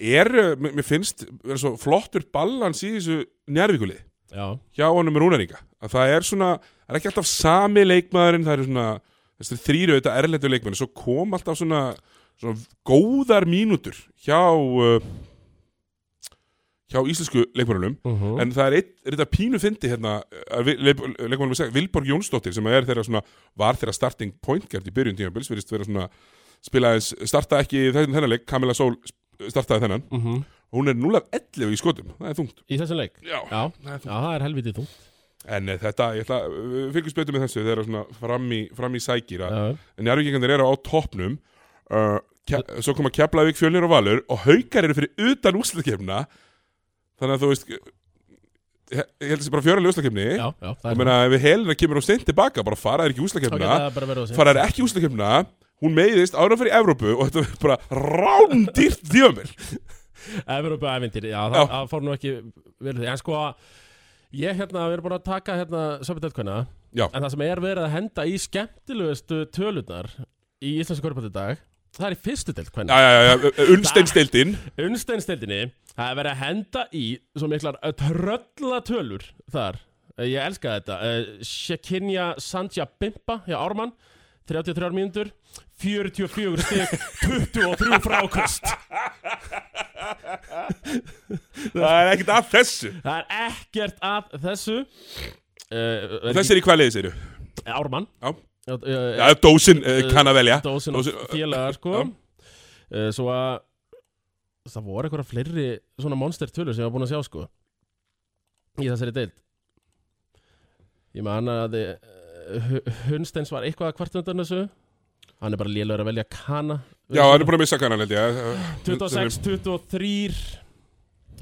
S1: Er, eh, mér mér finnst vera svo flottur ballans í þessu njárvíkuli
S2: Já,
S1: hjá honum Rúnaringa að það er svona, það er ekki alltaf sami leikmaðurinn það eru svona, þessi þrýru þetta erlendu leikmaðurinn, svo kom alltaf svona, svona góðar mínútur hjá uh, hjá íslensku leikmaðurinnum
S2: uh -huh.
S1: en það er, eitt, er þetta pínu fyndi hérna, að við- leik- leikmannum við segja, Vilborg Jónsdóttir sem er þeirra svona, var þeirra starting point gert í byrjun tímabils, verðist vera svona spilaðis, starta ekki þennan þennan leik Kamila Sól startaði þennan hún er 0-11 í skotum, það er þungt
S2: Í þessum leik
S1: Já,
S2: Já,
S1: það er þungt
S2: já það er helviti þú
S1: En eh, þetta, ég ætla að fylgjast betur með þessu þegar svona fram í, fram í sækir að,
S2: Já,
S1: en Njárvíkingarnir eru á toppnum uh, ke, svo koma Keflavík, Fjölnir og Valur og haukar eru fyrir utan úrslutakefna þannig að þú veist ég ég held þessi bara fjöranlega úrslutakefni
S2: já, já það
S1: ég
S2: er
S1: meina ef við helina kemur og steint tilbaka bara fara þær ekki
S2: Þá
S1: úrslutakefna
S2: geta það bara verið á sig
S1: fara þær ekki úrslutakefna hún meiðist ára fyrir Evrópu og þetta er bara rándýrt djöfumil
S2: Evropa ævindir, já,
S1: Já.
S2: það, það fór nú ekki vel því En sko, ég hérna, við erum búin að taka hérna Söpindöldkvæna
S1: Já.
S2: En það sem er verið að henda í skemmtilegustu tölurnar Í Íslandsku korfbætt í dag Það er í fyrstu delt
S1: Já,
S2: kvenna
S1: já, já, já, unnsteinsteildin
S2: Unnsteinstildinni, það er verið að henda í Svo miklar tröllatölur Þar, Eh, ég elska þetta Eh, Shekinja Sanja Bimba Hjá Ármann, 33 mínútur 44 stig 23 frákost
S1: Það er ekkert að þessu
S2: Það er ekkert að þessu uh,
S1: Þessi er í hvað leiðis eru?
S2: Ármann
S1: Já.
S2: uh,
S1: Já, dósin uh, kann að velja
S2: Dósin og
S1: Dósin-
S2: félagar sko
S1: Já.
S2: uh, Svo að Það voru eitthvað fleiri svona monster tölur sem ég var búin að sjá sko Í þessari deild Ég man að uh, Hunsteins var eitthvað að kvart undan þessu Hann er bara lélegur að velja kana
S1: Já, hann er búin að missa kannan held ég Eh,
S2: 26, 23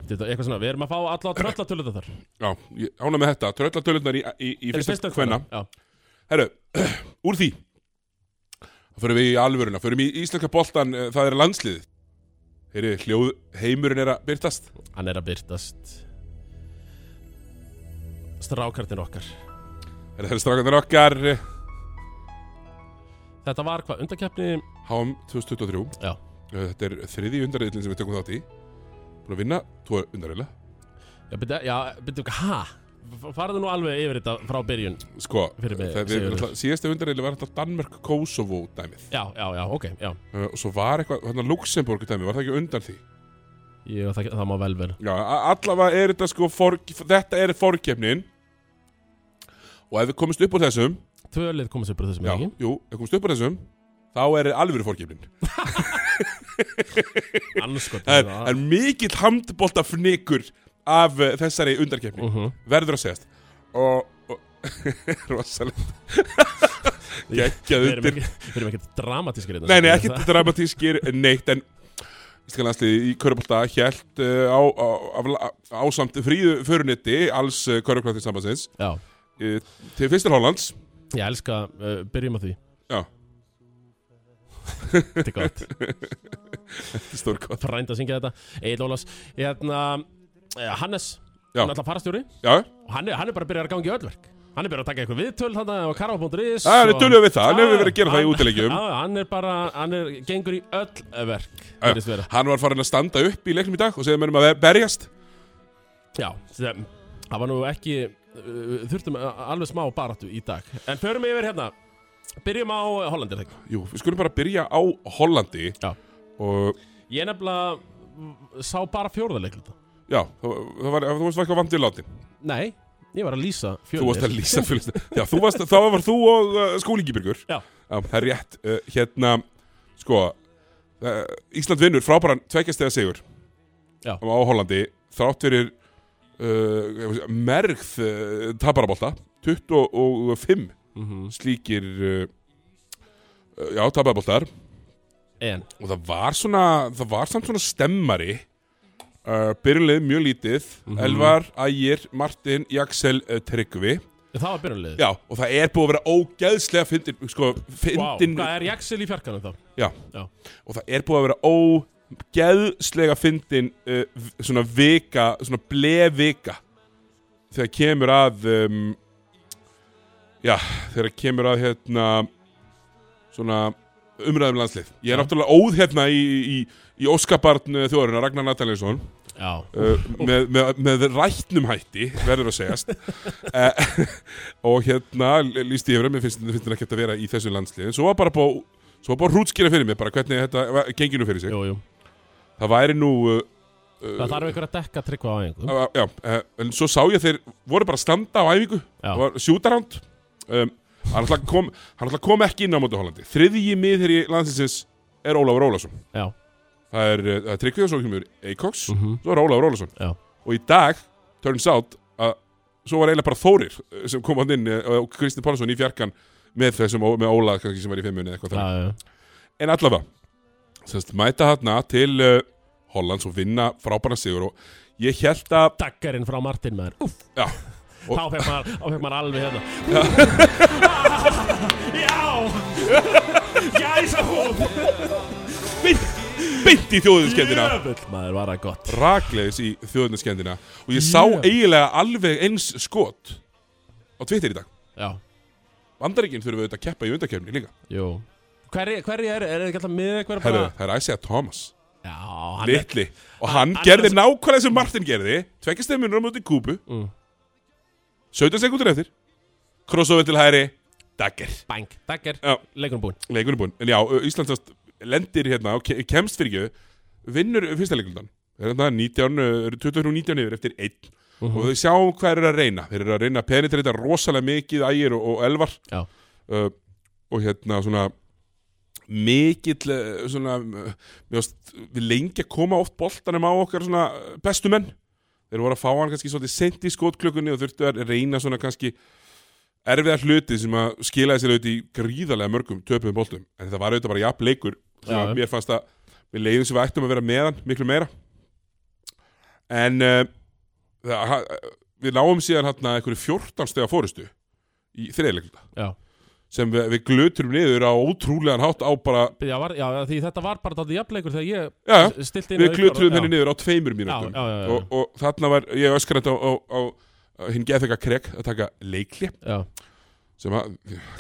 S2: Þetta er eitthvað svona, við erum að fá alla tröllatölu þar
S1: Já, ég- ánægð með þetta Tröllatölunar í, í, í fyrsta hvenna
S2: Já,
S1: Herru, úr því Það förum við í alvöruna Förum í íslenska boltan, eh, það er landsliðið Heyri, hljóð heimurinn er að byrtast
S2: Hann er að byrtast Strákarnir okkar
S1: Herru, það er strákandir okkar eh,
S2: Þetta var hvað, undakeppni
S1: HM 2023
S2: Já.
S1: Eh, Þetta er þriði undarriðlinn sem við tökum þátt í Búin að vinna, tvo undarriðla
S2: Já, byrja, já, byrja, ha F- Farðu nú alveg yfir þetta frá byrjun
S1: Sko,
S2: Fyrir mig,
S1: það- við-
S2: Sigurður.
S1: náttúrulega- síðasta undarriðli var þetta Danmörk-Kosovo dæmið
S2: Já, já, já, ok, já
S1: Eh, Og svo var eitthvað, hérna Luxemburg dæmið, var það ekki undan því?
S2: Ég, það, það má vel vera
S1: Já, a- allavega er þetta sko for, þetta er fórkefnin og ef við komumst upp úr þessum
S2: Tvö lið komast upp úr þessum
S1: já,
S2: ekki
S1: jú, ef við komumst upp úr þessum þá er alvöru fórkefnin
S2: Anskot
S1: það er, það er mikill handbólta fnikur af uh, þessari undarkefni
S2: Mhm.
S1: verður að segjast og, og rosalegt geggjað
S2: Við erum
S1: undir
S2: ekki- við erum ekkert dramatískir hérna
S1: nei, nei, ekki dramatískir neitt en Íslenska landsliði í Körbólta hjælt uh, á, á, á, á samt fríðu föruniti alls uh, Körbólta sambandsins
S2: Já,
S1: uh, til fyrstur Hollands
S2: ég elska, uh, byrjum á því
S1: Já.
S2: Þetta er gott,
S1: Stórkott
S2: frænd að syngja þetta Egil Ólas, hérna eh, Hannes,
S1: Já.
S2: hann er alltaf farastjóri
S1: Já,
S2: og hann er, hann er bara að byrja að gangi öllverk Hann er byrjað að taka eitthvað viðtöl þarna á karfa.is
S1: Já, hann er
S2: og-
S1: duglegur við það, hann hefur
S2: Já,
S1: verið að gera það í
S2: hann-
S1: útileikjum.
S2: Já, hann er bara, hann er, gengur í öll verk
S1: Já.
S2: virðist vera.
S1: hann var farin að standa upp í leiknum í dag og segja mönnum að ver- berjast
S2: Já, sem, það var nú ekki uh, þurftum a- alveg smá baratu í dag En förum yfir hérna Byrjum á Hollandir þegar
S1: Jú, við skulum bara byrja á Hollandi
S2: Já.
S1: Og
S2: Ég nefnilega mm, sá bara fjórðarleikluta
S1: já, það, það var, þú varst eitthvað vandið látin
S2: Nei, ég var að lýsa
S1: Þú
S2: fjórðarleikluta
S1: varst að lýsa fylgst Já, þú varst, þá var þú og uh, skólingibyrgur
S2: Já.
S1: Það er rétt, uh, hérna, sko uh, Ísland vinnur frábæran tveikjastega sigur
S2: Já.
S1: Á Hollandi, þrátt fyrir uh, mergð uh, taparabolta 25
S2: Mhm.
S1: slíkir uh, uh, já, taparaboltar
S2: En,
S1: og það var svona það var samt svona stemmari uh, byrjunlið mjög lítið
S2: Mhm.
S1: Elvar, Ægir, Martin, Jaxel uh, Tryggvi,
S2: það var byrjunlið
S1: já og það er búið að vera ógeðslega fyndin, sko, fyndin
S2: Hvað er Jaxel í fjarkanum þá?
S1: já,
S2: Já.
S1: og það er búið að vera ógeðslega fyndin uh, v- svona vika, svona blevika þegar kemur að um, já, þegar kemur að hérna svona umræðum um landslið ég er
S2: Já.
S1: náttúrulega óð hérna í, í, í óskabarn uh, þjóruna, Ragnar Natalínsson
S2: Já,
S1: uh, með, með, með rættnum hætti verður að segjast uh, og hérna líst ég yfir að mér finnst, finnst þetta ekki að vera í þessu landsliðin svo var bara bá, svo var bara hrútskýra fyrir mig bara hvernig þetta genginu fyrir sig
S2: jú, jú
S1: það væri nú uh,
S2: Það þarf einhver að dekka tryggva á einhverjum
S1: uh, já, uh, en svo sá ég þeir voru bara að standa á æfingu
S2: Já.
S1: Það var sjútaránd um, hann alltaf kom, hann náttúrulega kom ekki inn á móti Hollandi þriðji miður í landsliðsins er Ólafur Ólafsson
S2: Já,
S1: það er, uh, það er Tryggvið og svo kemur Eikoks
S2: Mhm.
S1: svo er Ólafur Ólafsson
S2: já,
S1: og í dag, turns out að svo var eiginlega bara Þórir eh, sem kom hann inn eh, og Kristi Pálsson í fjarkan með þessum, Ó- með Óla kannski sem var í fimmunni eða eitthvað
S2: já,
S1: þannig.
S2: já, já.
S1: En allavega, semst, mæta hann til uh, Hollands og vinna frábæra sigur og ég held að
S2: Dakkarinn frá Martin maður Úff,
S1: já,
S2: þá fekk maður, þá fekk maður alveg hérna Já Gæsa hún
S1: beint í þjóðunskendina
S2: Jöfull maður var það gott
S1: rakleis í þjóðunskendina og ég sá
S2: Jöfull.
S1: eiginlega alveg eins skot á Twitter í dag
S2: Já,
S1: Vandaríkinn þurfum við auðvitað að keppa í undakefni líka
S2: jú Hverri, hverri er, er þið ekki alltaf með eitthvað
S1: Herru,
S2: bara
S1: það er Isaiah Thomas
S2: Já, hann er
S1: litli og hann
S2: hann er Mm.
S1: gerði
S2: svo-
S1: nákvæmlega sem Martin gerði tveggjastegn munur á móti kúpu 17 sekundur eftir crossover til hæri dagger
S2: bang, dakkar,
S1: Já.
S2: leikunum búinn
S1: leikunum búinn en já, Íslandsast lendir hérna og ke- kemst fyrir ekki vinnur fyrsta leikundan er hérna 19, eh, 23, 19 yfir eftir 1
S2: Mhm.
S1: og þau sjáum hvað þeir eru að reyna þeir eru að reyna að penetrita rosalega mikið ægir og, og elvar
S2: Já,
S1: uh, og hérna svona mikill eh, svona, eh, mér varst við lengi að koma oft boltanum á okkar svona eh, bestu menn þeir voru að fá hann kannski svolítið sent í skotklökunni og þurftu að reyna svona kannski erfiða hluti sem að skilaði sér auðvitað í gríðarlega mörgum töpuðum boltum en það var auðvitað bara jafn leikur sem
S2: Já,
S1: að
S2: já.
S1: mér fannst að við leiðum sem við ættum að vera meðan miklu meira en uh, það, við náum síðan hérna einhverju 14 stega fórustu í þriðleiklunda
S2: já
S1: sem við, við glöturum niður á ótrúlegan hátt á bara,
S2: Já, var, já, því þetta var bara þáttið jafnleikur þegar ég
S1: já,
S2: s- stilt inn
S1: við hérna glöturum henni
S2: niður
S1: niður á tveimur
S2: Já,
S1: mínútum
S2: já, já, já,
S1: og, og þarna var, ég öskrandi á, á, á, á hinn geðþekka krek að taka leikli
S2: já,
S1: sem að,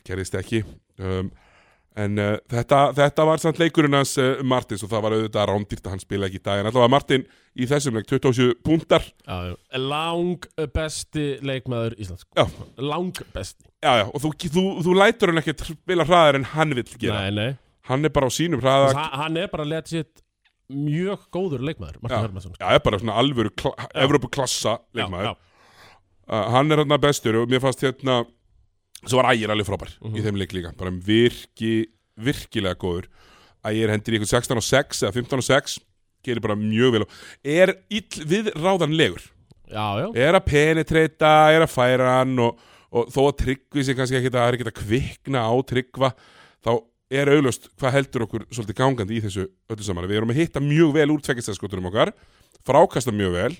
S1: gerðist ekki um, en uh, þetta, þetta var samt leikurinn hans uh, Martins og það var auðvitað rándýrt að hann spila ekki í dag en allavega Martin í þessum leik 27 púntar
S2: já, já. Lang besti leikmaður Íslands
S1: já,
S2: Lang besti
S1: já, já, og þú, þú, þú lætur hann ekki spila hraðar en hann vill gera
S2: Nei, nei
S1: hann er bara á sínum hraða
S2: Þess, hann er bara legit mjög góður leikmaður Martin
S1: Já.
S2: Hermansson
S1: já, er bara svona alvöru kla, Evropaklassa leikmaður
S2: já,
S1: Uh, hann er hérna bestur og mér fannst hérna svo var Ægir alveg frábær í þeim leik líka bara virki, virkilega góður Ægir hendir í eitthvað 16 og 6 eða 15 og 6 gerir bara mjög vel og er ill við ráðanlegur
S2: já, já,
S1: er að penetrata, er að færa hann og, og þó að tryggvi sig kannski ekki það er ekki að kvikna á tryggva þá er auðlust hvað heldur okkur svolítið gangandi í þessu öllu saman við erum að hitta mjög vel úr tvekkistæðskotunum okkar frákasta mjög vel,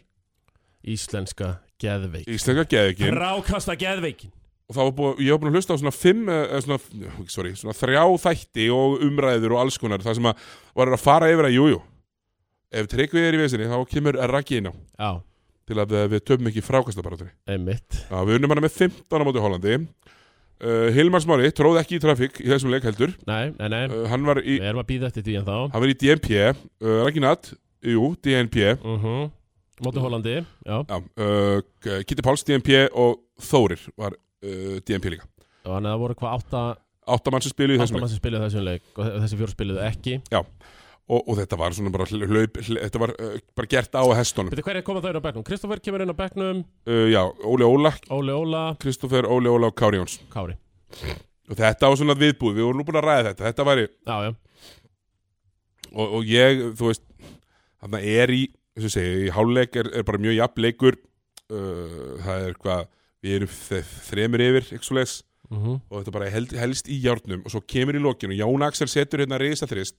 S2: Íslenska geðveik
S1: íslenska geðekin
S2: Rákasta geðveikin
S1: og það var búið, ég var búin að hlusta á svona fimm, eh, svona, ekki, sorry, svona þrjá þætti og umræður og alls konar það sem að var að fara yfir að jújú ef Tryggvi er í vesinni þá kemur Raggi inn á
S2: Já,
S1: til að eh, við töfum ekki frákastabaratri
S2: einmitt
S1: Já, við unnum hana með 15 á móti Hollandi uh, Hilmar Smári tróð ekki í trafík í þessum leik heldur
S2: Nei, nei, nei,
S1: uh, hann, var í,
S2: við erum að býða eftir því en þá
S1: hann var í DNP uh, Ragnat, jú, DNP
S2: uh Móti Hollandi, já
S1: Já, uh, Kitty Páls DNP og Þórir var uh, DNP líka
S2: Og hann það voru hvað átta
S1: Áttamann sem spiluðu í
S2: Átta
S1: þessum
S2: mann
S1: leik
S2: sem spiluðu þessum leik Og þessi fjóru spiluðu ekki
S1: og, og þetta var svona bara hlaup, hl þetta var uh, bara gert á að hestunum uh,
S2: Býttu hverja koma þau inn á bekknum? Kristoffer kemur inn á bekknum
S1: Já, Óli Óla,
S2: Óli Óla,
S1: Kristoffer, Óli Óla og Kári Jóns
S2: Kári
S1: og þetta var svona viðbúið, við vorum nú búin að ræða þetta þetta væri,
S2: Já, já,
S1: og, og ég, þú veist þarna er í, þess að segja, í háluleik er, er bara mjög jafn leikur uh, það er hvað, við erum þe- þremur yfir, ekki svo leis
S2: uh
S1: og þetta bara held, helst í járnum og svo kemur í lokinu, Jón Axel setur hérna reyðist að þrist,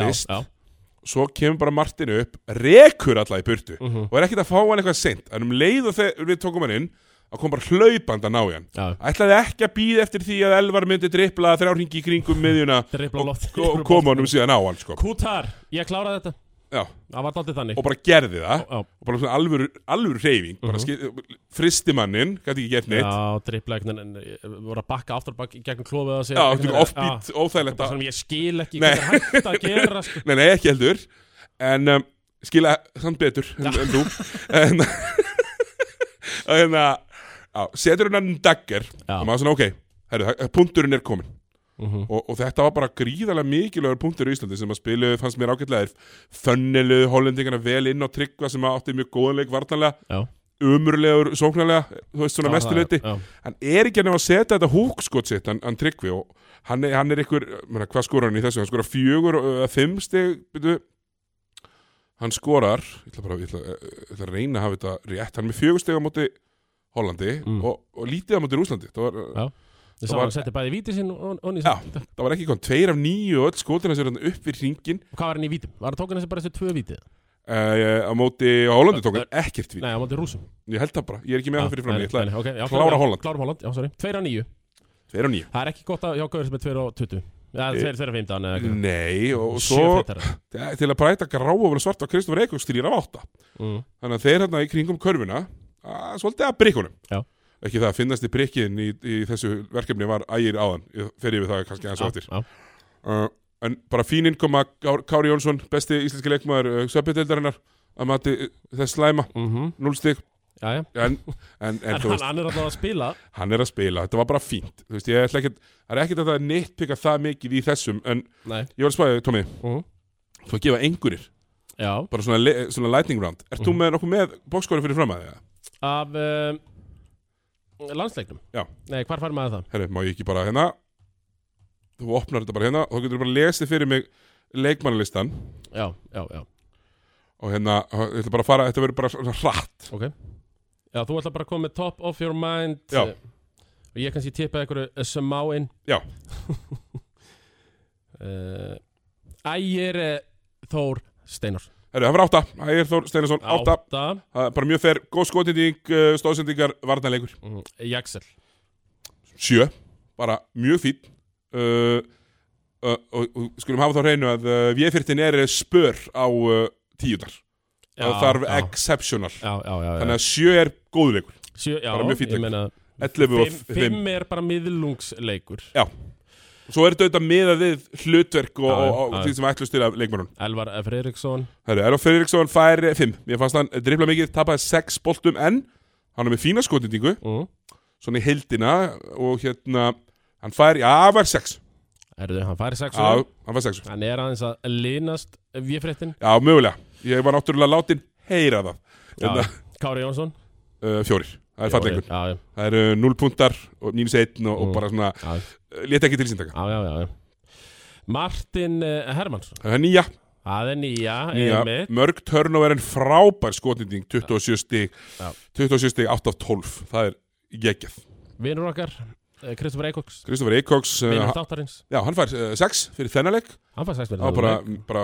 S2: já,
S1: Fyrst.
S2: já.
S1: svo kemur bara Martin upp rekur alla í burtu
S2: Uh
S1: og er ekkert að fá hann eitthvað seint en um leið og þegar við tókum hann inn að kom bara hlaupand að ná í hann
S2: já.
S1: ætlaði ekki að býða eftir því að Elvar myndi dripla þrjárhingi í kringum miðjuna
S2: Dribla
S1: og,
S2: loft
S1: og kom honum síðan á hann sko.
S2: Kútar, ég kláraði þetta
S1: Já,
S2: Það var alltaf þannig
S1: og bara gerði það
S2: Já,
S1: og bara svona alvöru, alvöru reyfing bara skil, fristi mannin, gæti ekki gert neitt
S2: Mhm. já dribla einhvern veginn eh, Voru að bakka aftur bakk gegnum klófið á sig
S1: já, þetta er
S2: Já,
S1: offbeat, óþægilegt
S2: bara
S1: að-
S2: svona, Ég skil ekki
S1: Nei.
S2: hvað er hægt að gera sko.
S1: nei, nei, ekki heldur en um, skila samt betur en, en þú en að hérna já, setur hann hann dagger
S2: Já.
S1: og maður svona, ok, herru, það- punkturinn er komin
S2: Mhm.
S1: og, og þetta var bara gríðarlega mikilvægur punktur í Íslandi sem að spilu fannst mér ágætlega þönnilu hollendingana vel inn á tryggva sem að átti mjög góðan leik vartanlega
S2: Já,
S1: umurlegur, sóknarlega, þú veist svona
S2: það var
S1: mestu
S2: það,
S1: löti
S2: já.
S1: hann er ekki að nefna að setja þetta húkskot sitt hann, hann tryggvi og hann er, hann er ykkur menna, hvað skorar hann í þessu, hann skorar fjögur og uh, fimm stig byrju. hann skorar ég ætla, bara, ég, ætla, eh, ég ætla að reyna að hafa þetta rétt hann er með fjögur stig á móti Hollandi
S2: Mm.
S1: og, og lítið á móti Rúslandi það var,
S2: Já. Ég
S1: Það
S2: sá
S1: var-
S2: hann setti bæði víti sinn og onni
S1: Já.
S2: sinn
S1: það var ekki kom tveir af níu og öll skotina sér hann upp við hringin
S2: Og Hvað var hann í vítum? Var það tók hann þessi bara þessi tvö víti?
S1: uh, á móti Hollandi tók hann ekkert við
S2: Nei, hann mátti rúsum
S1: ég held það bara, ég er ekki með það fyrir fram ég ætla að
S2: okay,
S1: klára Holland.
S2: Klára Holland, já, sorry 2 á 9
S1: tveir af níu
S2: Það er ekki gott að hjá Gauður sem er 2 á 20 Já,
S1: Eh,
S2: 2 á 15 eða eitthvað.
S1: nei og
S2: Sjö
S1: svo
S2: fréttara.
S1: til að bræta gráofur svart á Kristofur Eikóks til ég af átta
S2: Mm.
S1: Þannig að þeir hérna í kringum körfuna að, Svolítið að brikkunum
S2: Já.
S1: Ekki það að finnast í brikkin í, í þessu verkefni var ægir áðan Ég fer yfir það kannski aðeins
S2: Já,
S1: og eftir
S2: já.
S1: uh, En bara fín innkoma Gár- Kári Jónsson Besti íslenski leikmaður uh, Söpindeldarinnar Að mati uh, þess slæma
S2: Mhm.
S1: Núlstig
S2: Já, já.
S1: En, en, en
S2: En
S1: þú
S2: hann,
S1: veist,
S2: hann er alltaf að spila
S1: hann er að spila Þetta var bara fínt Þú veist, ég ætla ekkert Það er ekkert að það er neittpika það mikið í þessum En
S2: Nei
S1: ég var að spæði, Tómi
S2: Mhm.
S1: Þú að gefa einhverjir
S2: Já
S1: Bara svona, le- svona lightning round Ert
S2: Mhm.
S1: þú með nokkuð með bókskóri fyrir fram að því? eða?
S2: Af um, landsleiknum
S1: Já.
S2: Nei, hvar fær maður það?
S1: herru, má ég ekki bara hérna þú opnar þetta bara hérna og þá getur þú bara lesið fyrir mig leikmannalistan
S2: Já, já, já
S1: og hérna, ég ætla bara að fara, þetta verður bara svona hratt
S2: Ok Já, þú ætla bara að koma með top of your mind
S1: Já.
S2: eh, Og ég kannski tippa einhverju eh, smáinn
S1: Já.
S2: Eh, Ægir eh, Þór Steinar
S1: herru, það var átta, Ægir Þór Steinarsson, átta
S2: Átta
S1: Það er bara mjög fer, góð skotindík, stóðsendingar varnarleikur,
S2: Mhm. Jaxel
S1: sjö bara mjög fín uh, uh, og, og skulum hafa þá á hreinu að uh, V14 er spör á uh, tíundar það þarf
S2: já.
S1: exceptional
S2: Já, já, já, já.
S1: þannig að sjö er góðleikur
S2: Sjö, já,
S1: bara mjög fínn
S2: ég
S1: leikur.
S2: meina
S1: 11 og
S2: fimm,
S1: 5
S2: fimm er bara miðlungsleikur
S1: Svo er þetta auðvitað miðað við hlutverk og,
S2: Já, já,
S1: og, og
S2: já,
S1: því sem ætlust til af leikmannun.
S2: Elvar Fredriksson
S1: Herru, Erlof Fredriksson fær 5. Mér fannst hann drifla mikið, tapaði 6 boltum en hann er með fína skotindingu,
S2: mm.
S1: svona í heildina og hérna, hann fær, já, hann fær 6.
S2: Erðu, hann færi sex
S1: Já,
S2: og
S1: hann fær 6.
S2: Hann er aðeins að linast Véfréttin
S1: Já, mögulega. Ég var náttúrulega látin heyra það. Hérna,
S2: Kári Jónsson
S1: uh, fjórir. Það er fallengur.
S2: Já, já,
S1: Það eru 0 puntar og mínus 1 og,
S2: Mm.
S1: og bara svona,
S2: já,
S1: leta ekki til síndaka.
S2: já, já, já, já. Martin eh, Hermansson
S1: Það er nýja,
S2: Það er nýja,
S1: nýja.
S2: einmitt
S1: mörg turnover en frábær skotinding, 27 stig,
S2: Já.
S1: 27 stig, 8 af 12. Það er geggjað.
S2: Vinnur okkar Kristoffer Eikoks
S1: Kristoffer Eikoks
S2: Vinnar
S1: uh,
S2: þáttarins
S1: Já, hann fær 6 fyrir þennaleg
S2: Hann fær 6
S1: Það var bara, bara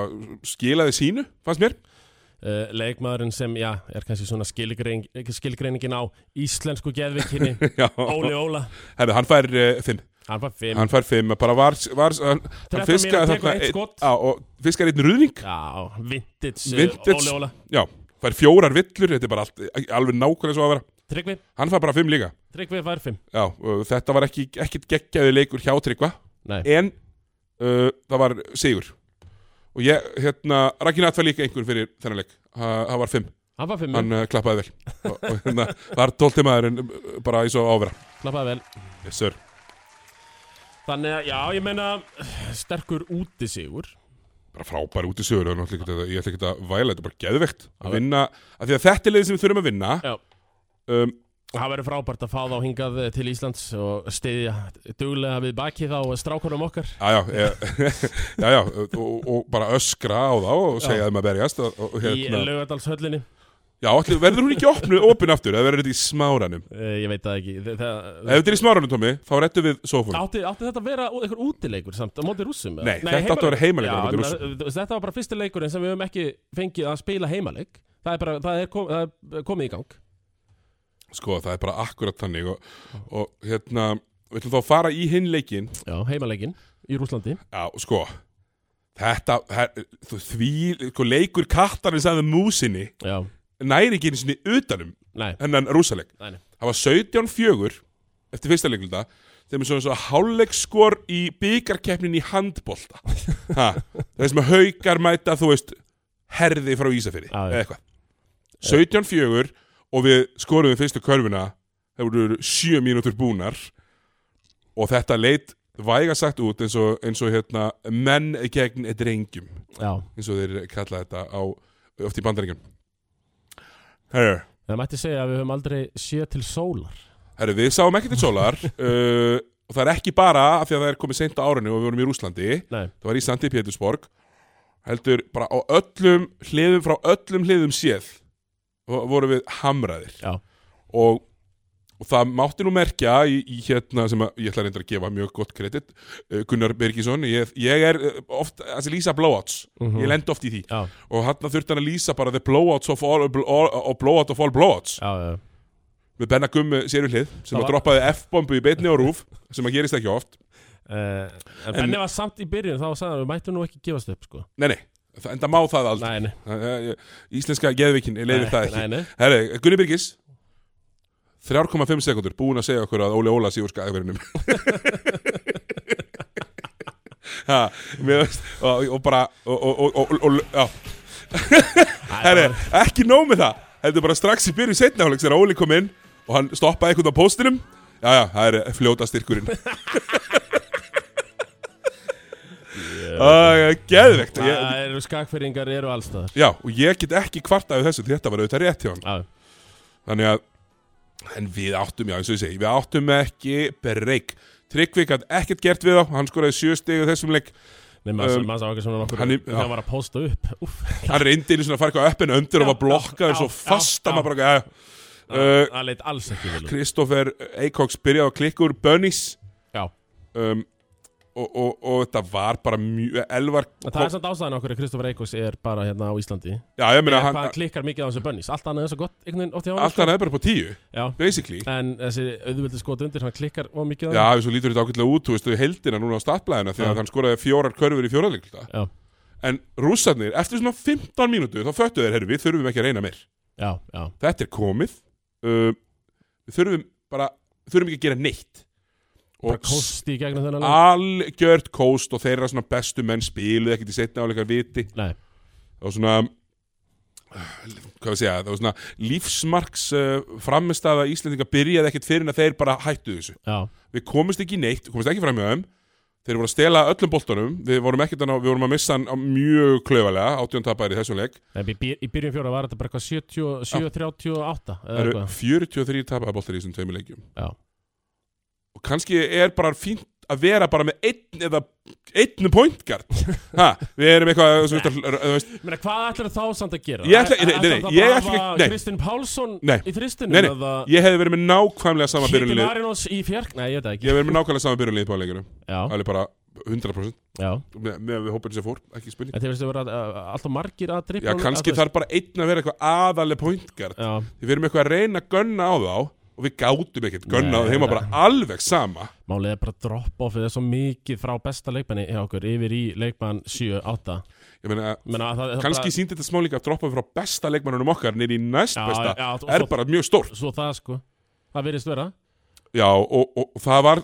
S1: skilaði sínu, fannst mér
S2: uh, leikmaðurinn sem, já, er kannski svona skilgrein, skilgreiningin á íslensku geðvikinni,
S1: Já.
S2: Óli Óla
S1: Herðu, hann fær 5
S2: hann var fimm,
S1: Hann fær 5, bara var, var hann, hann
S2: 13
S1: fiskaði
S2: mínútur, tekur
S1: þarna
S2: eitt
S1: einn-
S2: skot.
S1: Já, og fiskaði einn ruðning
S2: já, vintage,
S1: Vintage.
S2: vintage. Óli Óla,
S1: Já, fær fjórar villur, þetta er bara allt, alveg nákvæmlega svo að vera
S2: Tryggvi
S1: Hann fær bara 5 líka
S2: Tryggvi var fimm,
S1: Já, og þetta var ekki, ekkit geggjaði leikur hjá Tryggva
S2: nei,
S1: En uh, það var sigur Og ég, hérna, Ragnat var líka einhver fyrir þennan leik Ha- Það var 5
S2: hann var fimm,
S1: hann uh, klappaði vel og, og hérna var tólti maðurinn uh, bara eins og ávera
S2: klappaði vel
S1: yes sir
S2: þannig að, já, ég meina sterkur úti sigur
S1: bara frábær út í sögur og náttúrulega ekki þetta- ég ætla ekki að væla þetta er bara geðvegt að vinna af því að þetta er leið sem við þurfum að vinna
S2: Já.
S1: um,
S2: það verður frábært að fá þá hingað til Íslands og stiðja duglega við bakið á strákunum okkar
S1: já, já, ég, já, já og, og bara öskra á þá og segja þeim að berjast og, og
S2: í
S1: hérna
S2: laugadalshöllinni
S1: já, allir, verður hún ekki opnu, opin aftur eða verður þetta í smáranum
S2: uh, ég veit það ekki Þa, það,
S1: ef þetta er í smáranum, Tómi, þá rettum við sófun
S2: Átti, átti þetta að vera ú- einhver útileikur samt á móti rússum? eða?
S1: Nei, þetta átti að vera heimaleikur á
S2: Já,
S1: móti
S2: en
S1: Rússum.
S2: það- Þetta var bara fyrsti leikurinn sem við höfum ekki fengið að spila heimaleik Það er, bara, það er, kom, það er komið í gang
S1: sko, það er bara akkurat þannig og, og hérna, við ætlum þá að fara í hinn leikinn
S2: Já, heimaleikin í Rúslandi
S1: Já, sko Þetta, her, þú, því, sko, leikur kattarins að músinni
S2: Já,
S1: næri ekki einu sinni utanum
S2: nei,
S1: hennan rúsaleg.
S2: nei, nei.
S1: Það var 17-4 eftir fyrsta leikluta þeim er svona svo hálfleikskor í byggarkeppnin í handbolta. Ha, það er sem að haukar mæta, þú veist, herði frá Ísafyrði,
S2: Já, já.
S1: eða eitthvað. 17-4 og við skoruðum fyrstu körfuna, það voru 7 mínútur búnar og þetta leit vægasagt út eins og, eins og hérna, menn gegn drengjum
S2: Já,
S1: eins og þeir kalla þetta á, oft í bandaríkjum Herru,
S2: það mætti segja að við höfum aldrei séð til sólar
S1: herru, við sáum ekki til sólar uh, og það er ekki bara af því að það er komið seint á árinu og við vorum í Rúslandi
S2: Nei,
S1: það var í Sandi Pétursborg heldur bara á öllum hliðum frá öllum hliðum séð vo- voru við hamraðir
S2: já,
S1: og, og það mátti nú merkja í, í hérna sem að, ég ætla reyndar að gefa mjög gott kredit uh, Gunnar Birgisson ég, ég er uh, oft, þessi lýsa blowouts ég
S2: Mhm.
S1: lend oft í því
S2: já,
S1: og hann þurfti hann að lýsa bara the blowouts of all, all, all blowout of all blowouts
S2: já, já.
S1: með Benna Gummi sérulhlið sem
S2: Það
S1: að
S2: var-
S1: droppaði F-bombu í beinni á rúf sem að gerist ekki oft
S2: Uh, en Benni var samt í byrjun þá sagði hann við mættum nú ekki gefast upp sko
S1: nei nei, það- en það má það aldrei
S2: Nei, nei,
S1: Það- það- ég- íslenska geðvikin leiðir það ekki
S2: nei, nei.
S1: Herri, Gunni Birgis 3,5 sekundur búin að segja okkur að Óli Óla sé úr skæðverinum ha, mér veist og, og bara og, og, og, og, og, já, Herri, ekki nóg með það Þetta er bara strax í byrju setna hálfleiks þegar Óli kom inn og hann stoppaði eitthvað á póstinum Já, já, það er fljóta styrkurinn yeah. Geðvegt ég,
S2: Það eru skakfyrringar eru allstaðar
S1: Já, og ég get ekki kvartaði þessu því þetta var auðvitað rétt hjá hann
S2: Já,
S1: Þannig að, en við áttum, já, eins og ég segi, við áttum ekki breyk Tryggvi gætt ekkert gert við þá, hann skoraði sjö stig á þessum leik
S2: Nei, maður
S1: Um,
S2: um, sá ekki svona nokkur
S1: hann
S2: hann,
S1: í- já.
S2: var að posta upp Úf,
S1: Hann reyndi einu svona að fara eitthvað öppin undir og
S2: Já,
S1: var blokkaði
S2: já,
S1: svo
S2: já,
S1: fast að
S2: já.
S1: maður bara, já, já
S2: það leitt alls ekki vel út.
S1: Kristoffer Eikóks byrjaði að klikka úr Bönnies
S2: Já,
S1: um, og, og, og þetta var bara mjög elvar
S2: en það er samt ástæðan okkur að Kristoffer Eikos er bara hérna á Íslandi
S1: Já, ég meina,
S2: Eða
S1: hann,
S2: Hvað hann klikkar mikið á þessu bönnis Allt annað er svo gott, einhvern veginn, oft hjá hann
S1: allt hann er bara på tíu
S2: Já,
S1: basically
S2: en þessi auðvöldi skot undir, hann klikkar of mikið á
S1: Já, svo lítur þetta ákveðlega út, þú veist, heldina núna á startblæðina því að
S2: Já.
S1: hann skoraði fjórar körfur í fjóraðleiklita
S2: Já.
S1: En rússarnir, eftir svona 15 mínútu, þá föttu þeir, herru, við þurfum ekki að reyna meir
S2: já, já,
S1: Þetta er komið uh, Við þurfum bara, þurfum ekki að gera neitt
S2: bara kosti í gegnum þennan leik.
S1: algjört kóst og þeirra svona bestu menn spiluð ekkert í setna áleikar viti
S2: Nei,
S1: það var svona hvað við segja, það var svona lífsmarks uh, framistæða Íslendinga byrjaði ekkert fyrir en að þeir bara hættu þessu
S2: já,
S1: við komumst ekki í neitt, komumst ekki fram hjá þeim þeir voru að stela öllum boltanum við vorum ekkert að ná, við vorum að missa hann á mjög klöfalega, átjón tapar í þessum leik
S2: en í, byr- í byrjun fjóra var þetta bara eitthvað 70 738
S1: það
S2: eða
S1: eru
S2: eitthvað
S1: 43 tapaða boltar í þessum tveimur leikjum
S2: Já,
S1: og kannski er bara fínt að vera bara með einn eða einn pointgard ha, við erum eitthvað þú veist, að- þú veist,
S2: Menna, hvað ætlar þá samt að gera?
S1: Ég ætla- nei, nei,
S2: Ætlarðu
S1: nei,
S2: þá
S1: ég
S2: bara
S1: ætla
S2: að
S1: ekki-
S2: hafa
S1: nei.
S2: Kristinn Pálsson
S1: Nei.
S2: í þristinum
S1: nei, nei,
S2: eða
S1: ég hefði verið með nákvæmlega sama
S2: Kitty
S1: byrjunlið
S2: Marinos í fjark Nei, ég veit það
S1: ég
S2: ekki
S1: hefði verið með nákvæmlega sama byrjunlið á leikinu
S2: Já,
S1: alveg bara 100%
S2: já
S1: með, með við hópin sem fór, ekki spurning
S2: En þeir veistu að vera uh, alltaf margir að
S1: já,
S2: drippa
S1: kannski þarf bara einn að vera eitthvað aðaleg pointgard
S2: Já,
S1: við erum eitthvað að reyna að gunna á þá og við gátum ekkert gunna á
S2: Nei,
S1: þeim heima
S2: nei.
S1: bara alveg sama
S2: málið er bara drop-offið er svo mikið frá besta leikmanni hjá okkur yfir í leikmann 7-8
S1: ég meina,
S2: Menna, það, það
S1: kannski
S2: bara,
S1: síndi þetta smá líka að droppa frá besta leikmannunum okkar niður í næst
S2: Já,
S1: besta
S2: já, og
S1: er
S2: svo-
S1: bara mjög stórt
S2: Svo það sko Það virðist vera
S1: já og, og, og það var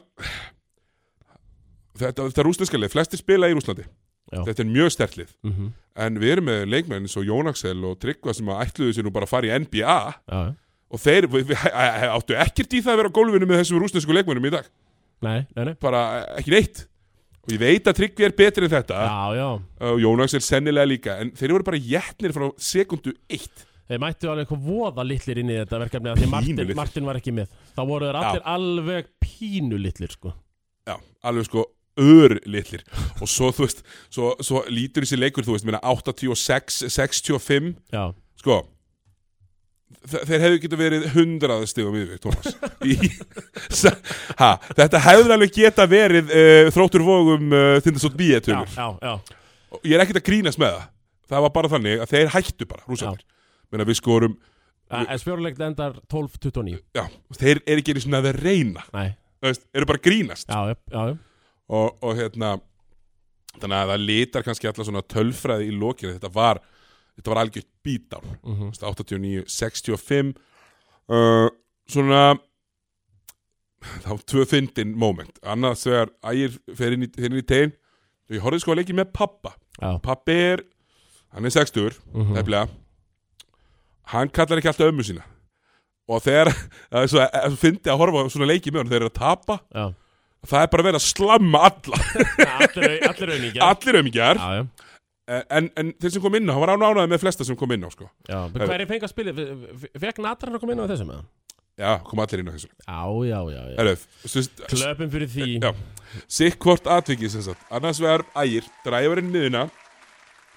S1: þetta, þetta er rúsneskalið flestir spila í Rúslandi
S2: Já.
S1: þetta er mjög stertlið
S2: mm -hmm.
S1: en við erum með leikmenn eins og Jón Axel og Tryggva sem að ætluðu sér nú bara að fara í NBA
S2: Já, já
S1: og þeir við, við, áttu ekkert í það að vera á gólfinu með þessum rúsnesku leikmennum í dag
S2: Nei, nei, nei
S1: bara e, ekki neitt og ég veit að Tryggvi er betri en þetta
S2: Já, já
S1: og Jón Axel sennilega líka en þeir voru bara jætnir frá sekundu eitt
S2: Þeir mættu alveg eitthvað voða litlir inn í þetta verkefni af Því Martin,
S1: Pínulitlir.
S2: Martin var ekki með Þá voru þeir allir alveg pínu litlir sko
S1: já, alveg sko ör litlir og svo þú veist, svo, svo lítur þessi leikur þú veist, minna 86, 65
S2: Já,
S1: sko þe- þeir hefðu getið verið 100 stigum yfir, Tómas Í- Sa- ha, þetta hefður alveg geta verið uh, þróttur vógum uh, þindasótt
S2: já,
S1: bíetunur
S2: já, já,
S1: ég er ekkert að grínast með það það var bara þannig að þeir hættu bara rúsarnir, menna við skorum
S2: já. En spjórulegt endar 12-29
S1: já, þeir eru ekki einu svona að reyna
S2: Nei,
S1: þú veist, eru bara að grínast
S2: já, já, já, já.
S1: og, og hérna þannig að það litar kannski alla svona tölfræði í lokinu, þetta var þetta var algjört bítán
S2: Mm
S1: 89, 65 uh, svona þá tvö fyndin moment, annað þegar ægir fer inn í, fer inn í tegin og ég horfði sko að leiki með pappa
S2: já.
S1: pappi er, hann er 60
S2: Mm
S1: nefnilega hann kallar ekki alltaf ömmu sína og þegar, það er svo, er svo fyndi að horfa á svona leiki með hann, þeir eru að tapa
S2: já.
S1: það er bara verið að slamma alla
S2: Allir, allir auðningar
S1: allir ömingjar
S2: Já, já,
S1: en, en þeir sem kom inn á, hann var ánægði með flesta sem kom inn á sko.
S2: já Hver er fengið að spila? Fekk Natran að koma inn á þessum eða?
S1: já, kom allir inn á þessu
S2: Já, já, já, já.
S1: Herru, þú veist,
S2: Klöpum fyrir því
S1: Já. sikk hvort atvikið sem sagt annars vegar ægir, dræfarinn niðuna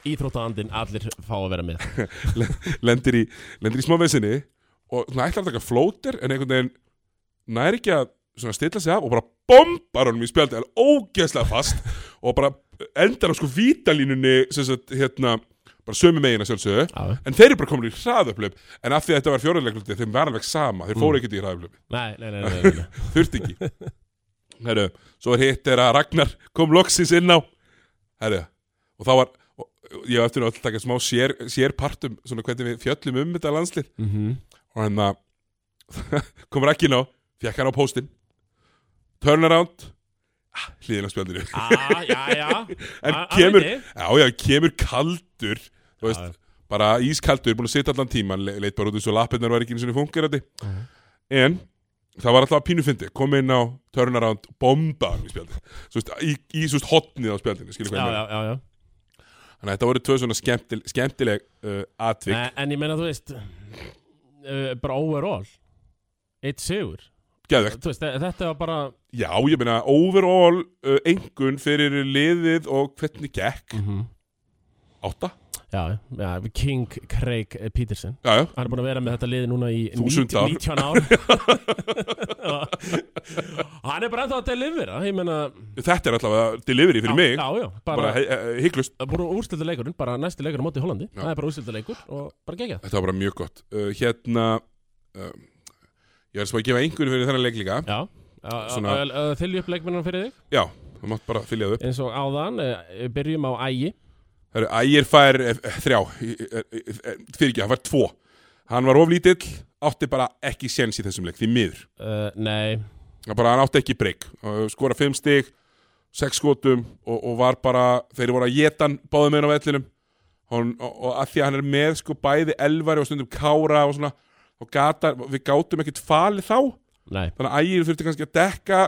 S2: Íþróttaandinn allir fá að vera með
S1: lendir í, lendir í smá vesinni og svona ætlar að taka flóter en einhvern veginn næri ekki að svona stilla sig af og bara bombar honum í spjaldi alveg ógeðslega fast og bara endar á sko vítalínunni sem sagt, hérna, bara sömu megin að sjálfsögðu
S2: Já,
S1: en þeir eru bara komin í hraðaplöp en af því að þetta var fjóraðleiklöp þeim var alveg sama, þeir fóru ekkert í hraðaplöp
S2: nei, nei, nei, nei, nei, nei.
S1: þurfti ekki Heru, svo er hitt er að Ragnar kom loksins inn á Heru, og þá var og, og ég á eftir að taka smá sér, sérpartum svona hvernig við fjöllum um þetta landslið
S2: Mm
S1: og hann að kom Ragnar inn á, fekk hann á póstinn turnaround ah, hliðin á spjaldinu
S2: Já, Ah, já, já Ah,
S1: en
S2: A-
S1: kemur,
S2: alveg.
S1: já, já, kemur kaldur þú veist,
S2: Já.
S1: bara ískaldur búin að sitja allan tíman, le leit bara út þessu lappirnar var ekki eins og fungerandi
S2: Mhm.
S1: en það var alltaf pínu fyndi, kom inn á turnaround, bomba hann í spjaldin Þú veist, í, í svo hotnið á spjaldinu skilur hvað
S2: Já,
S1: ég meina.
S2: já, já, já
S1: þannig að þetta voru tvö svona skemmtileg, skemmtileg uh, atvik
S2: Nei, Eh, en ég meina, þú veist uh, bara overall eitt sigur
S1: Geðvegt.
S2: þú veist, þe- þetta var bara
S1: já, ég meina, overall uh, engun fyrir liðið og hvernig gekk
S2: Mm.
S1: átta,
S2: já, já, King Craig Peterson
S1: já, já,
S2: hann er búin að vera með þetta lið núna í
S1: Þúsund
S2: 90
S1: ár.
S2: 19 ár Og hann er bara ennþá að delivera ég meina
S1: þetta er alltaf delivery fyrir mig,
S2: já, já, bara,
S1: bara
S2: bara
S1: uh, hygglust
S2: bara úrstilda leikurinn, bara næsti leikur á móti í Hollandi
S1: Já.
S2: það er bara úrstilda leikur og bara gegja
S1: Þetta var bara mjög gott uh, Hérna um, Ég er svo að gefa einhverju fyrir þennan leik líka
S2: já,
S1: Svona-
S2: Svona... þylju upp leikmennan fyrir þig
S1: Já, þú mátt bara fylja það upp
S2: eins og áðan, eh, byrjum á ægi
S1: Herru, Ægir fær eh, eh, þrjá Fyrir ekki, hann fær tvo Hann var oflítill, átti bara ekki séns í þessum leik, því miður
S2: uh, nei,
S1: Hann bara, hann átti ekki breyk Skora fimm stig, sex skotum og, og var bara, þeir voru að geta hann báðum meðan á vellinum Hon, og, og að því að hann er með sko bæði elvari og stundum kára og svona og gata, við gátum ekkert falið þá
S2: nei
S1: Þannig að ægir þurfti kannski að dekka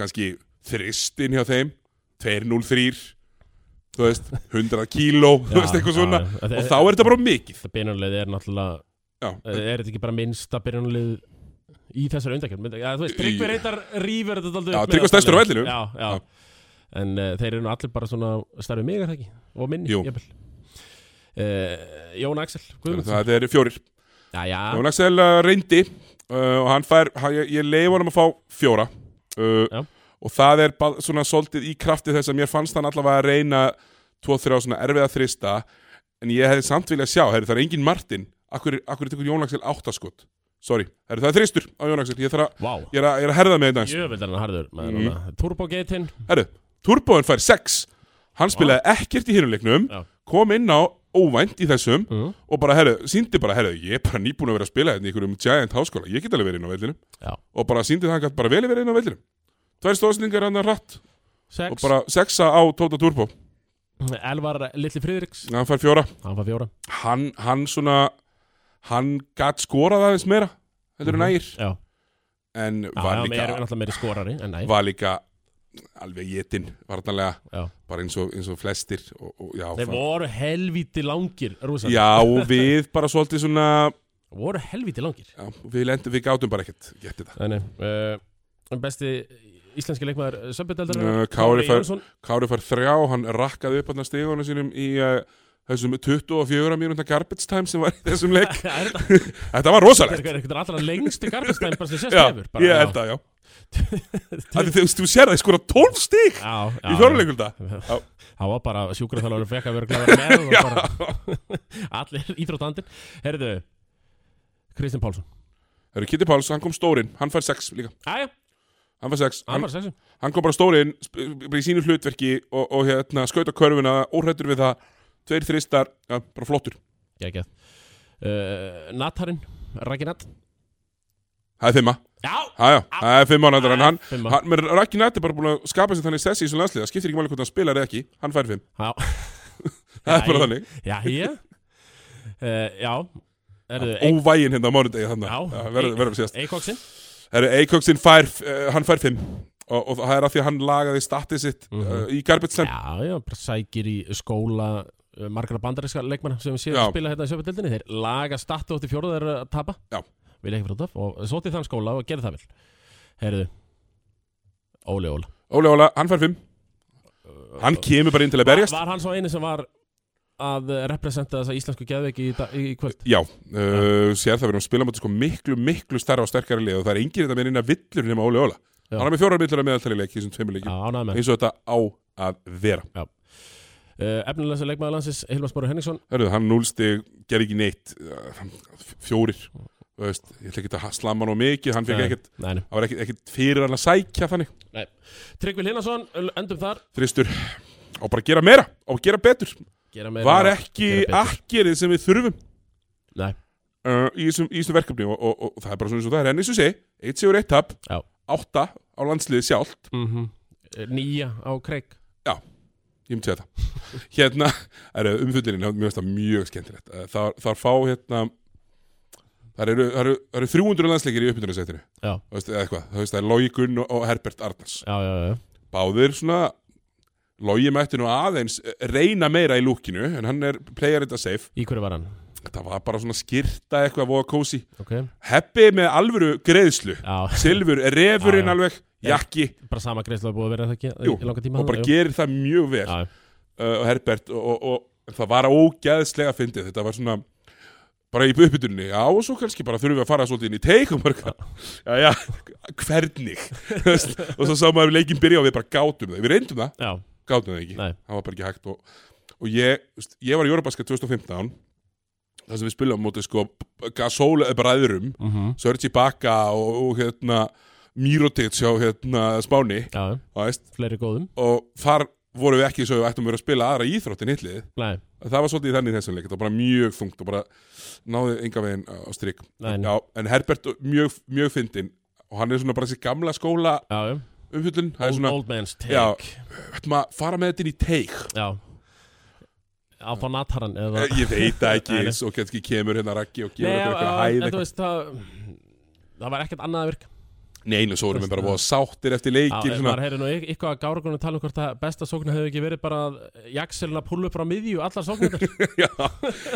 S1: kannski þristin hjá þeim 203 þú veist, 100 kíló þú
S2: Já,
S1: veist, eitthvað svona
S2: já, já.
S1: og þá er þetta bara of mikið
S2: Það byrjunarlið er náttúrulega
S1: Já,
S2: Er þetta ekki bara minnsta byrjunarlið í þessari undakefn ja, þú veist, Tryggvi
S1: Í-
S2: reyndar rýfur þetta daldið
S1: Já, Tryggvi stærstur á vellinum.
S2: já, já. en uh, þeir eru nú allir bara svona starfið mig er það ekki, og minni
S1: Jú.
S2: jafnvel. uh, Jón Axel Guðmundsson.
S1: Það er fjórir
S2: já, já,
S1: Jón Axel uh, reyndi uh, og hann fær, hann, ég, ég leif honum að fá fjóra
S2: Já.
S1: uh, og það er ba- svona svolítið í krafti þess að mér fannst hann allavega að reyna 2-3 svona erfiða þrista en ég hefði samt viljað sjá, herri, það er engin Martin akkur, akkur tekur Jón Axel áttaskot sorry, herri, það er þristur á Jón Axel ég, þarf að,
S2: vá
S1: ég, er að, ég er að herða með þetta eins
S2: Jöfnveld er hann harður maður
S1: Mhm.
S2: núna. Turbogeitin
S1: herri, Turboðin fær 6 hann spilaði ekkert í hinuleiknum
S2: Já.
S1: kom inn á óvænt í þessum
S2: Mhm.
S1: og bara, herru, síndi bara, herru, ég er bara nýbúin að vera að spila hérna í einhverjum giant háskóla, ég get alveg verið inn á vellinu
S2: Já.
S1: og bara síndi það hann gætt bara vel verið inn á vellinu tvær stóðsningar hann rætt og
S2: Sex,
S1: bara sexa á Tóta Turbo
S2: Elvar Lilli Friðriks
S1: hann fær fjóra,
S2: Hann fær fjóra
S1: hann, hann svona hann gætt skorað aðeins meira heldur
S2: Mhm.
S1: en ægir,
S2: Já,
S1: en
S2: hann
S1: var
S2: er
S1: líka
S2: náttúrulega meiri skorari En næ,
S1: var líka alveg jetinn, vartanlega
S2: já
S1: bara eins og, eins og flestir og, og, já,
S2: Þeir
S1: það-
S2: voru helvíti langir Rússar
S1: já, og við bara svolítið svona
S2: Voru helvíti langir
S1: já, við, lendum, við gátum bara ekkert, getið það
S2: Nei, uh, besti íslenski leikmaður Söpbjöldeldar
S1: Uh, Kári fær- Kári fær þrjá, hann rakkaði upp hann stígunum sínum í uh, þessum 24 mínúta garbage time sem var í þessum leik.
S2: Það er
S1: Þetta var rosalegt.
S2: eitthvað allra lengsti gargastæm bara sem sést
S1: Já,
S2: hefur bara,
S1: ég held það, já. Af því Þú veist, þú sér það, ég skora 12 stíg
S2: Já, já
S1: í fjóruleikulda.
S2: Það var bara sjúkraþjálfur fekk að vera glæður með og bara, Allir íþróttandir Herðu Kristinn Pálsson
S1: Það eru Kitty Páls, hann kom stórinn, hann fær 6 líka.
S2: Æja,
S1: Hann fær 6,
S2: hann
S1: hann,
S2: var sexum
S1: hann kom bara stórinn sp- bara í sínu hlutverki og, og hérna, skauta körfuna, óhrættur við það, tveir þristar, ja, bara flottur.
S2: Gægjað uh, Natarinn, Raginat
S1: Það er fimma,
S2: Já
S1: já, já, það er fimma á nættur, en hann,
S2: Fimma.
S1: hann, með Raki Nætt er bara búin að skapa sér þannig sessi í þessu landslið, það skiptir ekki máli hvort hann spilar eða ekki, hann fær 5.
S2: Já,
S1: Það er bara
S2: Æ.
S1: þannig.
S2: já, ég uh, Já Erðu, ja,
S1: óvægin hérna á mánudegi þannig
S2: Já.
S1: verður verður að séast
S2: Eikoksin
S1: Herru, Eikoksin fær, uh, hann fær 5 og, og það er af því að hann lagaði statið sitt mm
S2: Mhm.
S1: í garbage time
S2: Já, já, bara sækir í skóla uh, margra bandaríska leikmanna sem við séum
S1: Já.
S2: að spila hérna í sjöfaldildinni þeir laga startu átti fjóruð þeir að tapa
S1: Já.
S2: vil ekki fyrir út af og sóti þann skóla og gerði það vel Herðu Óli Óla
S1: Óli Óla, hann fær 5 hann kemur bara inn til að berjast
S2: Var hann svo eini sem var að eh, representa þessa íslensku geðveiki í, dag- í, í kvöld?
S1: Já, uh, sér það verður að spila mútið sko miklu, miklu starra og sterkari lið og það er enginn þetta með eina villur nema Óli Óla
S2: Já.
S1: Hann er með fjórar villur að meðaltali leik í þessum tveimur
S2: Já,
S1: leikjum
S2: ánægð með hann.
S1: eins og þetta á að vera
S2: uh, Efnilegsa leikmaður landsins Hilmar Smáru Henningsson
S1: Hörruðu, hann núlstig, gerði ekki neitt uh, f- fjórir Þú veist, ég ætla ekki að slamma nú mikið hann fekk
S2: Nei,
S1: ekkert,
S2: Eh, nei, nei.
S1: það var ekkert, ekkert fyrir hann að sækja þannig
S2: Tryggvi Linason, endum þar
S1: þristur á bara að gera meira, á að gera betur
S2: Gera meira-
S1: var ekki
S2: gera betur.
S1: akkerið sem við þurfum
S2: Nei.
S1: uh, í, þessum, í þessum verkefni og, og, og, það er bara svona eins og það er en eins og sé, eitt sigur eitt tap
S2: Já.
S1: átta á landsliði sjálft
S2: mm Nýja á kreik
S1: ég myndi segja það hérna, er umfyllinni, mér finnst það mjög skemmtilegt Uh, þar, þar fá hérna þar eru, þar eru, þar eru 300 landsleikir í uppbyrðunarsættinu
S2: Já.
S1: eða eitthvað, þú veist það er Logi Gunn og, og Herbert Arnars
S2: Já, já, já, já.
S1: báðir svona Logi mætti nú aðeins eh, reyna meira í lúkinu en hann er player þetta safe
S2: Í hverju var hann?
S1: Þetta var bara svona skýrta eitthvað voða kósi
S2: Ok Já,
S1: Heppi með alvöru greiðslu Silfur, refurinn
S2: Já, já.
S1: alveg, jakki
S2: bara sama greiðslega búið að vera er það ekki
S1: Jú,
S2: í langa tíma
S1: og bara
S2: Jú.
S1: gerir það mjög vel
S2: Já, já.
S1: uh, Herbert og, og, og það var ógeðslega fyndið Þetta var svona bara í uppbytunni Já, og svo kannski bara þurfum við að fara svolítið inn í teikum Já, já, hvernig Þú veist, Og svo sá maður leikinn byrja og við bara gátum það Við reyndum það,
S2: já,
S1: gátum það ekki
S2: Nei.
S1: Það var bara ekki hægt og, og ég, þú veist, ég var í Jórabasket 2015 þar sem við spilum á móti sko Gasol bræðurum
S2: mm
S1: Sergi Baka og, og hérna Mirotic á hérna Spáni
S2: já, já.
S1: þú veist,
S2: fleiri góðum
S1: og þar vorum við ekki svo við ættum að vera að spila aðra íþróttin hitlið
S2: Nei,
S1: það var svolítið þannig í þessum leik, það var bara mjög þungt og bara náði enga veginn uh, á á strik
S2: Nei, nei.
S1: Já, en Herbert mjög, mjög fyndinn og hann er svona bara þessi gamla skóla
S2: já, já.
S1: umfyllun, það er
S2: Old,
S1: svona
S2: old man's take
S1: Já.
S2: Já,
S1: ættum að fara með þetta inn í teik
S2: Alfa Nataran eða
S1: Eh, ég veit það
S2: Nei, nei.
S1: ekki, svo kannski kemur hérna Raggi og gefur
S2: Nei,
S1: okkur
S2: já,
S1: eitthvað hæð
S2: en þú
S1: eitthvað.
S2: veist það Það var ekkert annað að virka
S1: Nei, nú svo erum við bara voða sáttir eftir
S2: Já,
S1: leikin svona,
S2: maður heyri nú y- eitthvað að gára tala um hvort að besta sóknu hefði ekki verið bara að jakselina púlu upp frá miðju allar sóknu
S1: Já,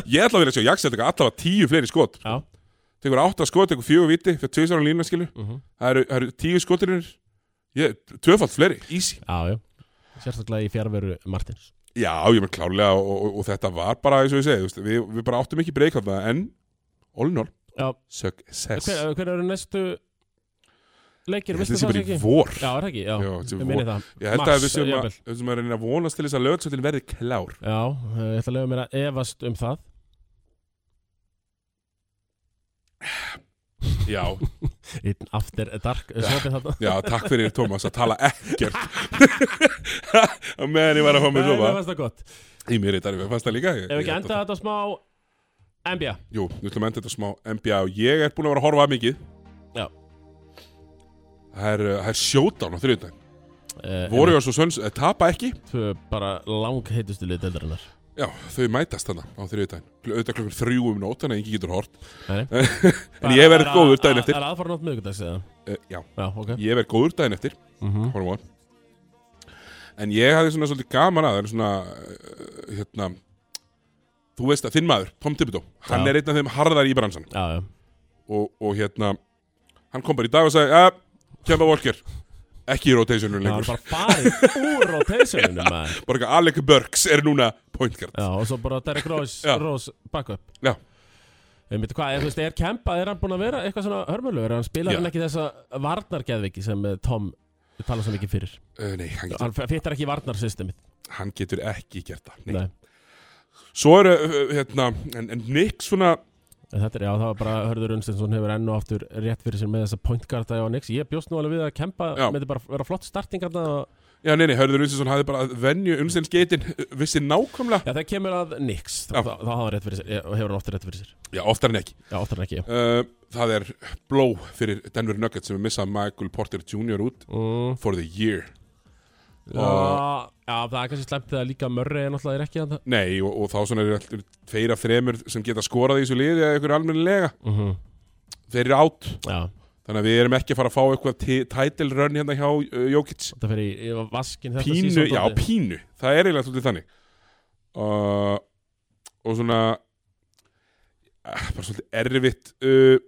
S1: ég ætla að vilja sjá Jaxel taka allavega tíu fleiri skot
S2: Já,
S1: tekur átta skot, tekur fjögur viti fyrir tvisar á lína skilu
S2: Mhm.
S1: það eru, það eru tíu skotirinir ég, tvöfalt fleiri, easy
S2: Já, já Sérstaklega í fjárveru Martins
S1: já, ég með klálega og, og, og þetta var bara eins og ég segi, þú veist, við, við bara áttum ekki breyk þarna en all in all,
S2: Já,
S1: success
S2: hver, eh, hver eru næstu leikir,
S1: þetta sé
S2: veistu það
S1: bara
S2: ekki?
S1: í vor
S2: Já, er það ekki, já,
S1: Já, þetta er
S2: ég minni það
S1: ég held
S2: Mars,
S1: að við sem að,
S2: jafnvel.
S1: við sem að reyna að vonast til þess að lögsöldin verði klár
S2: Já, eh, ég ætla að lega mér að efast um það
S1: já,
S2: Einn after dark, svopið þarna
S1: já, takk fyrir Tómas að tala ekkert á meðan ég var að fá mig
S2: Nei,
S1: sofa
S2: mér fannst það gott
S1: í mér í dag, ég fannst það líka ég-
S2: Ef
S1: ég-
S2: ekki enda þetta smá NBA
S1: Jú, við ætlum að enda þetta smá NBA og ég er búin að vera að horfa að mikið
S2: Já.
S1: Það er, uh, það er sjótán á þriðjöndag
S2: eh,
S1: Warriors og Suns eh, tapa ekki
S2: Tvö bara lang heitustu lið deildarinnar
S1: Já, þau mætast þarna á þriðjöndag auðvitað klokkur þrjú um nót, þannig að ekki getur hort
S2: Nei.
S1: En ég verð góður daginn eftir
S2: Það er aðfara nátt miðvikudags eða
S1: uh, Já,
S2: Já, ok
S1: ég verð góður daginn eftir
S2: Mhm.
S1: horfum á hann. En ég hafði svona svolítið gaman að það er svona uh, hérna Þú veist að þinn maður, Tom Thibodeau Hann
S2: Já.
S1: er einn af þeim harðar í bransan
S2: Já, já
S1: og, og hérna hann kom bara í dag og sagði að Kemba Walker ekki í rotationun
S2: Það var
S1: lengur
S2: bara farið úr rotationinu maður
S1: bara eitthvað Alec Burks er núna point guard
S2: Já, og svo bara Derrick Rose,
S1: Já.
S2: Rose backup
S1: Já.
S2: Ég veit hvað, er, þú veist, er Kemba, er hann búinn að vera eitthvað svona hörmulegur Hann spilar
S1: Já.
S2: hann ekki þessa varnargeðviki sem eh, Tom tala svo mikið fyrir
S1: uh, nei, hann getur,
S2: Hann fyttar ekki í varnarsystemið
S1: hann getur ekki gert það nei.
S2: Nei,
S1: svo eru uh, hérna en, en Nick svona
S2: En Þetta er, já, það var bara Hörður Unstinsson hefur enn og aftur rétt fyrir sér með þessa pointgarda á Nix Ég bjóst nú alveg við að Kemba
S1: Já.
S2: myndi bara vera flott startingarna og...
S1: já nei nei, Hörður Unsinsson hafði bara að venju umstens geitin vissi nákvæmlega
S2: Já, það kemur að Nix, þá,
S1: Já.
S2: þá, þá hafa hann rétt fyrir sér eh, og hefur hann ofta rétt fyrir sér
S1: já oftar en ekki
S2: Já, oftar en ekki, já
S1: uh, það er blow fyrir Denver Nuggets sem er missað Michael Porter Jr. út
S2: mm.
S1: for the year
S2: Já, já, það er kannski slæmt þegar líka Murray er náttúrulega er ekki hann
S1: nei og, og þá svona eru allir tveir af þremur sem geta skorað í þessu liði eða ykkur almennilega
S2: mm -hmm.
S1: þeir eru átt
S2: Já,
S1: Þannig að við erum ekki að fara að fá eitthvað ti- title run hérna hjá uh, Jokic
S2: Þetta fer í, í vaskin þetta
S1: Pínu,
S2: season,
S1: já
S2: dóttir.
S1: pínu Það er eiginlega svolítið þannig uh, Og svona uh, Bara svolítið erfitt uh,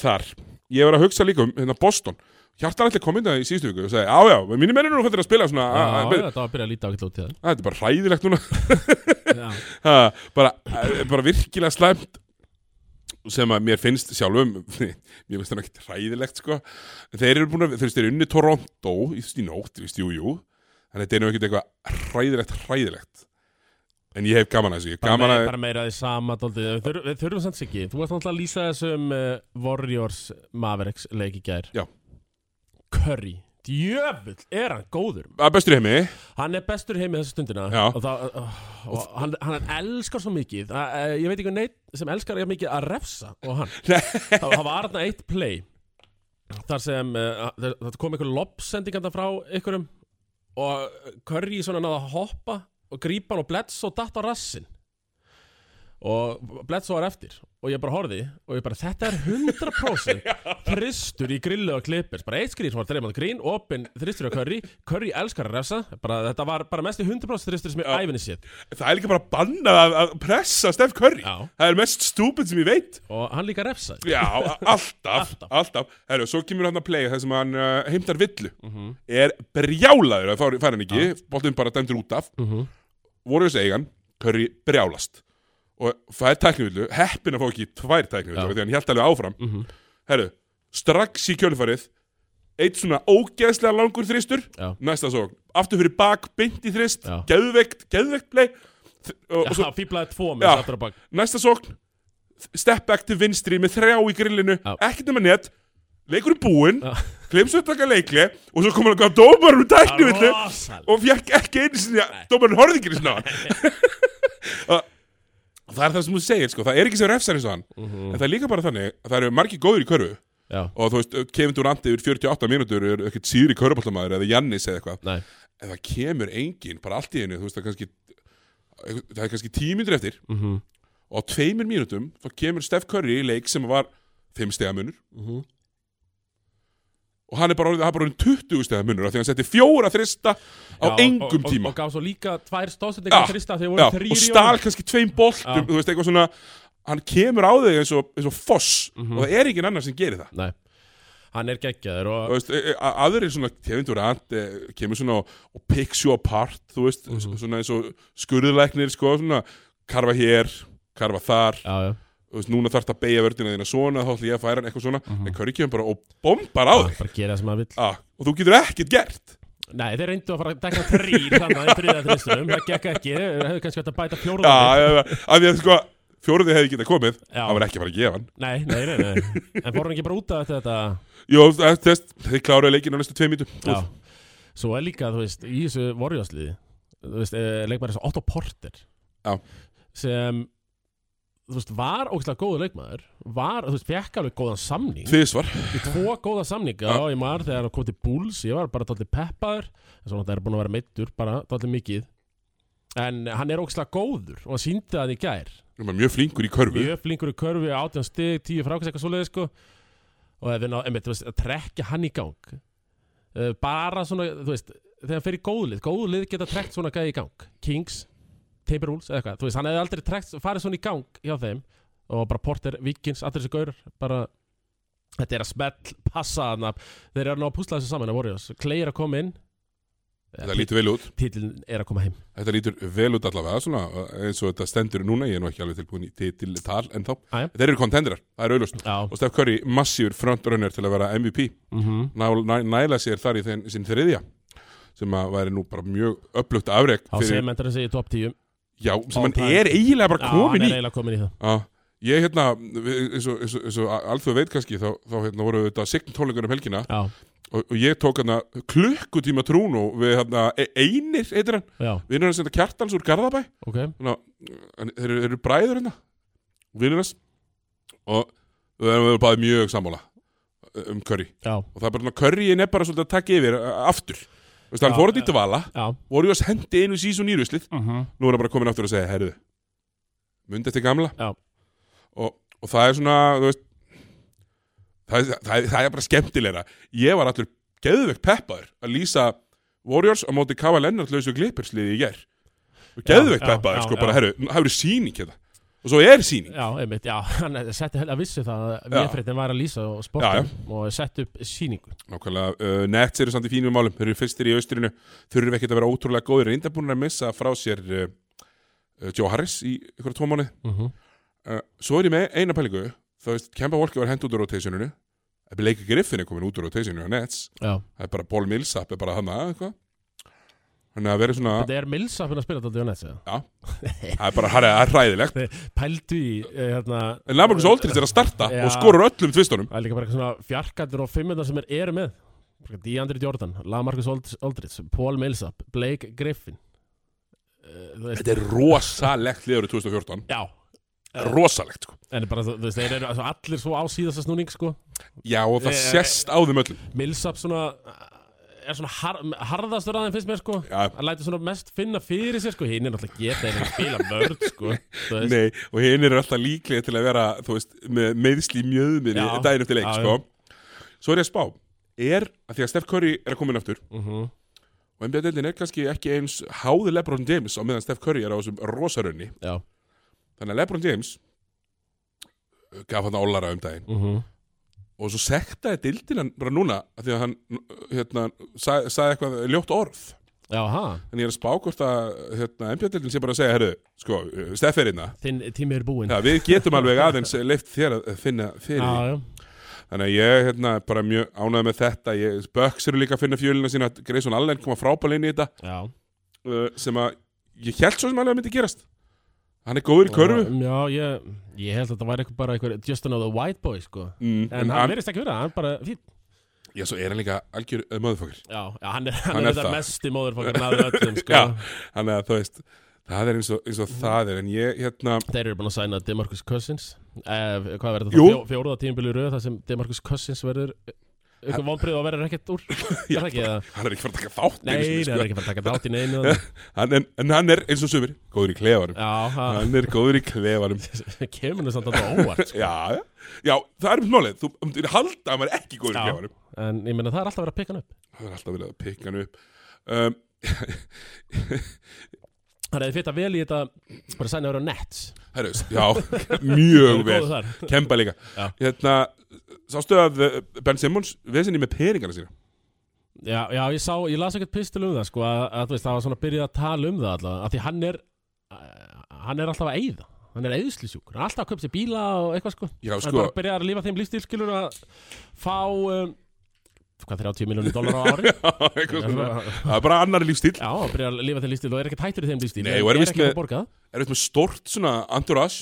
S1: Þar Ég var að hugsa líka um hérna Boston Hjartan ætli kom inn það í síðustu viku og sagði Já, já, mínir menn eru nú hvernig að spila svona
S2: Já,
S1: a- a-
S2: já, ah, þetta var að byrja að líta ákveðt út í
S1: Þetta er bara hræðilegt núna
S2: það Já,
S1: ha, bara, eh, bara virkilega slæmt sem að mér finnst sjálfum mér finnst það ekkert hræðilegt sko en þeir eru búin að, þeir veist, þeir eru unni Toronto í, í nótt, þú veist, jú, jú en þetta er nú ekkert eitthvað hræðilegt, hræðilegt en ég hef gaman að þessu ég hef
S2: bara,
S1: gaman
S2: meira,
S1: að,
S2: bara meira því sama dóldi. Við, þurf, við þurfum samt ekki Þú varst náttúrulega að lýsa þessum uh, Warriors Mavericks leik í gær
S1: Já.
S2: Curry Djöfull, er hann góður
S1: að bestur heimi
S2: Hann er bestur heimi þessu stundina
S1: Já.
S2: Og það, uh, og hann, hann elskar svo mikið uh, uh, Ég veit ekki neitt sem elskar ég mikið að refsa Og hann Það það var þarna eitt play Þar sem uh, það það kom einhver lobsendinganda frá einhverjum Og Curry svona náða að hoppa Og grípa hann og Bledsoe datt á rassin Og Bledsoe var eftir Og ég bara horfði Og ég bara þetta er 100% Þristur í grillu og klippir Bara eitt skrýr sem var dreymand grín Opin þristur á Curry Curry elskar að refsa bara, Þetta var bara mest í 100% þristur sem ég æfinni séð
S1: það er líka bara bannað að, að pressa Steph Curry
S2: Já.
S1: það er mest stúpid sem ég veit
S2: Og hann líka refsaði
S1: já, a- alltaf,
S2: Alltaf.
S1: alltaf Heru, svo kemur hann að playa það sem hann uh, heimtar villu er brjálaður að fara hann ekki, boltinn bara dæmdur út af
S2: Mhm.
S1: Warriors eigan, Curry brjálast og fær tæknivillu, heppin að fá ekki tvær
S2: Já. Mhm.
S1: tæknivillu, því hann hjælt alveg áfram herru, strax í kjölfarið eitt svona ógeðslega langur þristur,
S2: Já.
S1: næsta sókn aftur fyrir bak, beint í þrist,
S2: Já.
S1: geðveikt geðveikt play Þ- og, og
S2: Já,
S1: svo
S2: fíblaði tvo
S1: Já.
S2: með sattur á bak
S1: næsta sókn step back til vinstri með þrjá í grillinu
S2: Já.
S1: ekkert nema net, leikur í búin
S2: Já.
S1: klemsu að taka leikli og svo kom hann að gaf dómarum tæknivillu
S2: Rosalega
S1: og fekk ekki einu sinni að dómarinn horfði ekki einu sinni á hann Og það er það sem þú segir sko, það er ekki sem refsar eins og hann
S2: Mhm.
S1: en það er líka bara þannig að það eru margir góður í körfu
S2: Já,
S1: og þú veist, Kevin Durant yfir 48 mínútur er ekkert síður í körfbóltamæður eða Jannis eða eitthvað
S2: nei
S1: en það kemur engin, bara allt í einu þú veist, það er kannski það er kannski 10 mínútur eftir
S2: Mhm.
S1: og á tveimur mínútum þá kemur Steph Curry í leik sem var 5 stega munur
S2: Mhm.
S1: og hann er bara orðið, hann er bara orðið 20 stega munur af því að hann setti fjóra þrista á
S2: Já,
S1: engum
S2: og, og,
S1: tíma
S2: og gaf svo líka tvær
S1: Já,
S2: stóðsendingar þrista þegar
S1: já,
S2: voru þrýri
S1: og stal kannski tveim boltum
S2: Já.
S1: þú veist eitthvað svona hann kemur á þig eins og, eins og foss
S2: Mhm.
S1: og það er engin annar sem gerir það
S2: Nei, hann er geggjaður
S1: Þú
S2: og
S1: veist, e- e- a- aðrir svona tegundur ant e, kemur svona og, og picks you apart þú veist,
S2: Mhm.
S1: svona eins og skurðlæknir sko, svona karfa hér karfa þar,
S2: Já, já,
S1: þú veist, núna þarf að beigja vördina þína svona, þá ætla ég að færa hann eitthvað svona
S2: Mhm.
S1: en Curry kemur bara og bombar á þig
S2: bara gera það sem hann vill
S1: ah, og þú getur ekkert gert
S2: Nei, þeir reyndu að fara að dekka þrýr þannig í þrýða þrýstunum, það gekk ekki Þeir hefðu kannski hægt að bæta
S1: Já,
S2: fjóruða
S1: Ah, ja, að því að sko fjóruði hefði getað komið,
S2: Já.
S1: hann var ekki að fara að gefa hann
S2: Nei, nei, nei, nei En fór hann ekki bara út af þetta
S1: Jó, þess, þess, þeir kláruðu leikinn á næstu tvei mítum
S2: Já Svo er líka, þú veist, í þessu vorjóðsliði Þú veist, eh, leikmaður eins og Otto Porter
S1: Já.
S2: Sem, þú veist, var ógæslega góður leikmaður Var, þú veist, fekk alveg góðan samning
S1: Tvísvar
S2: Í tvo góða samninga Já, ég maður þegar hann kom til Bulls Ég var bara dálítið peppaður En svona það er búin að vera meittur, bara dálítið mikið En hann er ógæslega góður Og hann síndi það í gær
S1: Hann var mjög flinkur í körfu
S2: mjög flinkur í körfi, 18 stig, 10 frákast eitthvað svoleiði sko og ef við ná, einmitt, þú veist, að trekja hann í gang uh, bara svona, þú veist þegar hann fer í góðlið, góðlið geta trekt svona gæði í gang, Kings Timberwolves eða eitthvað, þú veist, hann hefði aldrei trekt farið svona í gang hjá þeim og bara Porter, Vikings, allir þessi gaur bara, þetta er að smell passa þarna, þeir eru að ná að púsla þessu saman að Warriors, Clay er að koma inn
S1: Þetta lítur vel út
S2: titlinn er að koma heim
S1: Þetta lítur vel út allavega svona, eins og þetta stendur núna, ég er nú ekki alveg tilbúin í til, til tal en þá,
S2: Jæja.
S1: þeir eru kontenderar, það er auðlust
S2: Já,
S1: og Steph Curry massífur frontrunner til að vera MVP
S2: mm
S1: Ná, næ, næla sér þar í þeim, sinn þriðja sem að væri nú bara mjög upplugt afrek
S2: á
S1: fyrir,
S2: segmentarinn sig í top 10
S1: já, sem hann
S2: time.
S1: er eiginlega
S2: Já,
S1: bara
S2: hann
S1: komin
S2: er
S1: í
S2: eiginlega komin í það
S1: Já, ég hérna við- eins og, eins og, eins og alþjóð veit kannski þá, þá hérna voru þetta sign tónleikar um helgina
S2: Já,
S1: og, og ég tók hérna klukkutíma trúnu við hérna E- einir eitir hann,
S2: já,
S1: vinnur hans hérna kjartans úr Garðabæ
S2: ok
S1: þannig að en þeir eru- þeir eru bræður hérna vinnur hans og við erum við erum bæði mjög sammála um curry
S2: Já,
S1: og það er bara svona curryin er bara svolítið að taka yfir uh, aftur Þú veist, hann
S2: Já,
S1: fór þetta
S2: já.
S1: í dvala
S2: já
S1: voru ég að hendi einu sísun í ruslið
S2: -huh.
S1: nú er hann bara komin aftur að segja, herðu mundið til gamla
S2: Já.
S1: og, og það er svona þú veist, það, er- það, er- það er bara skemmtilegra ég var allur geðvegt peppaður að lýsa Warriors á móti Kava Lennart lausu glippersliði í ger geðvegt
S2: já,
S1: peppaður,
S2: já,
S1: sko,
S2: já.
S1: bara herru það eru sýning hérna, og svo er sýning
S2: Já, einmitt, já, hann eh, setti hel að vissi það að
S1: Já.
S2: Véfréttin var að lýsa og
S1: Já,
S2: sportum og setti upp síningu
S1: Nákvæmlega, uh, Nets eru samt í fínum málum Þeir eru fyrstir í austrinu Þurfi ekkert að vera ótrúlega góðir Reynda búin að missa frá sér uh, uh, Joe Harris í ykkur tvo mánu
S2: uh -huh.
S1: uh, Svo er ég með eina pælingu Þá veist, Kemba Walker var hent út úr rotationinu Það er leika Griffin er komin út úr rotationinu á Nets
S2: Já,
S1: Það er bara Paul Millsap er bara hana eitthvað Þannig að vera svona
S2: þetta er Millsap að spila þetta á netsi
S1: Það er bara það er hræðilegt
S2: Pældu í, eh, hérna,
S1: En Lamarcus Aldridge er að starta
S2: Já.
S1: og skorur öllum tvistunum
S2: það er líka bara eitthvað svona fjarkantur og fimmundan sem er eru með Deandre Jordan, Lamarcus Ald- Aldridge, Paul Millsap, Blake Griffin Eh, þú veist,
S1: Þetta er rosalegt liður í 2014
S2: Já,
S1: Rosalegt sko
S2: en bara, þú þú veist, þeir eru altså, allir svo á síðasta snúning, sko
S1: Já og það
S2: Eh,
S1: sést á þeim öllum
S2: Millsap svona eh, er svona har, harðastur aðeins finnst mér sko
S1: Já.
S2: hann lætur svona mest finna fyrir sér sko hinn er náttúrulega geta en að spila mörg sko þú veist.
S1: Nei, og hinn eru alltaf líklega til að vera þú veist, með meðsli mjöðminni
S2: Já.
S1: daginn eftir leik,
S2: Já,
S1: sko Svo er ég að spá, er, að því að Steph Curry er að koma inn aftur
S2: Mhm.
S1: og NBA-deldin er kannski ekki eins háði LeBron James á meðan Steph Curry er á þessum rosarunni
S2: já
S1: þannig að LeBron James uh, gaf hann álara um daginn
S2: mhm.
S1: og svo sektaði deildin hann bara núna að því að hann uh, hérna, sa- sagði eitthvað ljótt orð
S2: já, ha
S1: en ég er að spá hvort að hérna, NBA-deldin sé bara að segja, herru, sko, uh, Steph er inna
S2: þinn tími er búinn
S1: Já, við getum alveg aðeins leift þér að finna fyrir því.
S2: já, já.
S1: Þannig að ég hérna, er bara mjög ánægð með þetta ég, Böks eru líka að finna fjölina sína Grayson Allen koma frábæl inn í þetta
S2: já.
S1: uh, sem að ég held svo sem alveg að myndi gerast Hann er góður í körfu
S2: Um, já ég, ég held að þetta væri eitthvað bara eitthvað just another white boy sko
S1: mm,
S2: en, hann verðist ekki vera hann er bara fín
S1: Já, svo er hann líka algjör uh, möðufokkar
S2: já, já hann er, hann
S1: Hann
S2: er
S1: er
S2: þetta
S1: það.
S2: mesti móðurfokkar naður öllum sko
S1: Já, hann er að þú veist Það er eins og, eins og það er En ég, hérna,
S2: Þeir eru búin að sæna Demarcus Cousins eh, Hvað verður
S1: Jú.
S2: það? Fjó, fjóruða tímbili röð þar sem Demarcus Cousins verður Ykkur vonbrið og verður ekkert úr Er það ekki það?
S1: hann er ekki fara að taka þátt
S2: Nei,
S1: einu sinni, sko.
S2: það er ekki bara að taka þátt í neinu Já,
S1: hann, en, en hann er eins og sumir Góður í klefarum
S2: það
S1: Hann er góður í klefarum
S2: kemur nú samt að það óvart sko.
S1: Já, já. já, það er mjög málið Þú þú myndir halda að maður er ekki góður í
S2: Já.
S1: klefarum
S2: En ég meina það er alltaf verið að pikka hann upp
S1: Það er alltaf verið að pikka hann upp um,
S2: Það er þetta vel í þetta Bara sæna að vera nets
S1: Herru, já, mjög
S2: Þeir eru góðir
S1: vel
S2: þar.
S1: Kemba líka
S2: Já.
S1: Hérna, sástu að uh, Ben Simmons vesinni með peningarna sína
S2: Já, já, ég sá, ég las ekkert pistil um það sko, að, að þú veist, það var svona byrjað að tala um það allavega, að því hann er eh, hann er alltaf að eyða, hann er eyðslisjúkur hann er alltaf að köpa sér bíla og eitthvað sko
S1: Já,
S2: hann er
S1: sko,
S2: bara að byrja að lifa þeim lífstílskilur að fá um, hvað 30 miljonir dólar á ári
S1: eitthvað svona Það er bara annar lífstíl
S2: Já, að byrja að lifa þeim lífstíl og er ekkert hættur í þeim lífstíl
S1: Nei,
S2: en
S1: og er víst
S2: ekki
S1: með-
S2: að borga það.
S1: Er þetta með stort svona entourage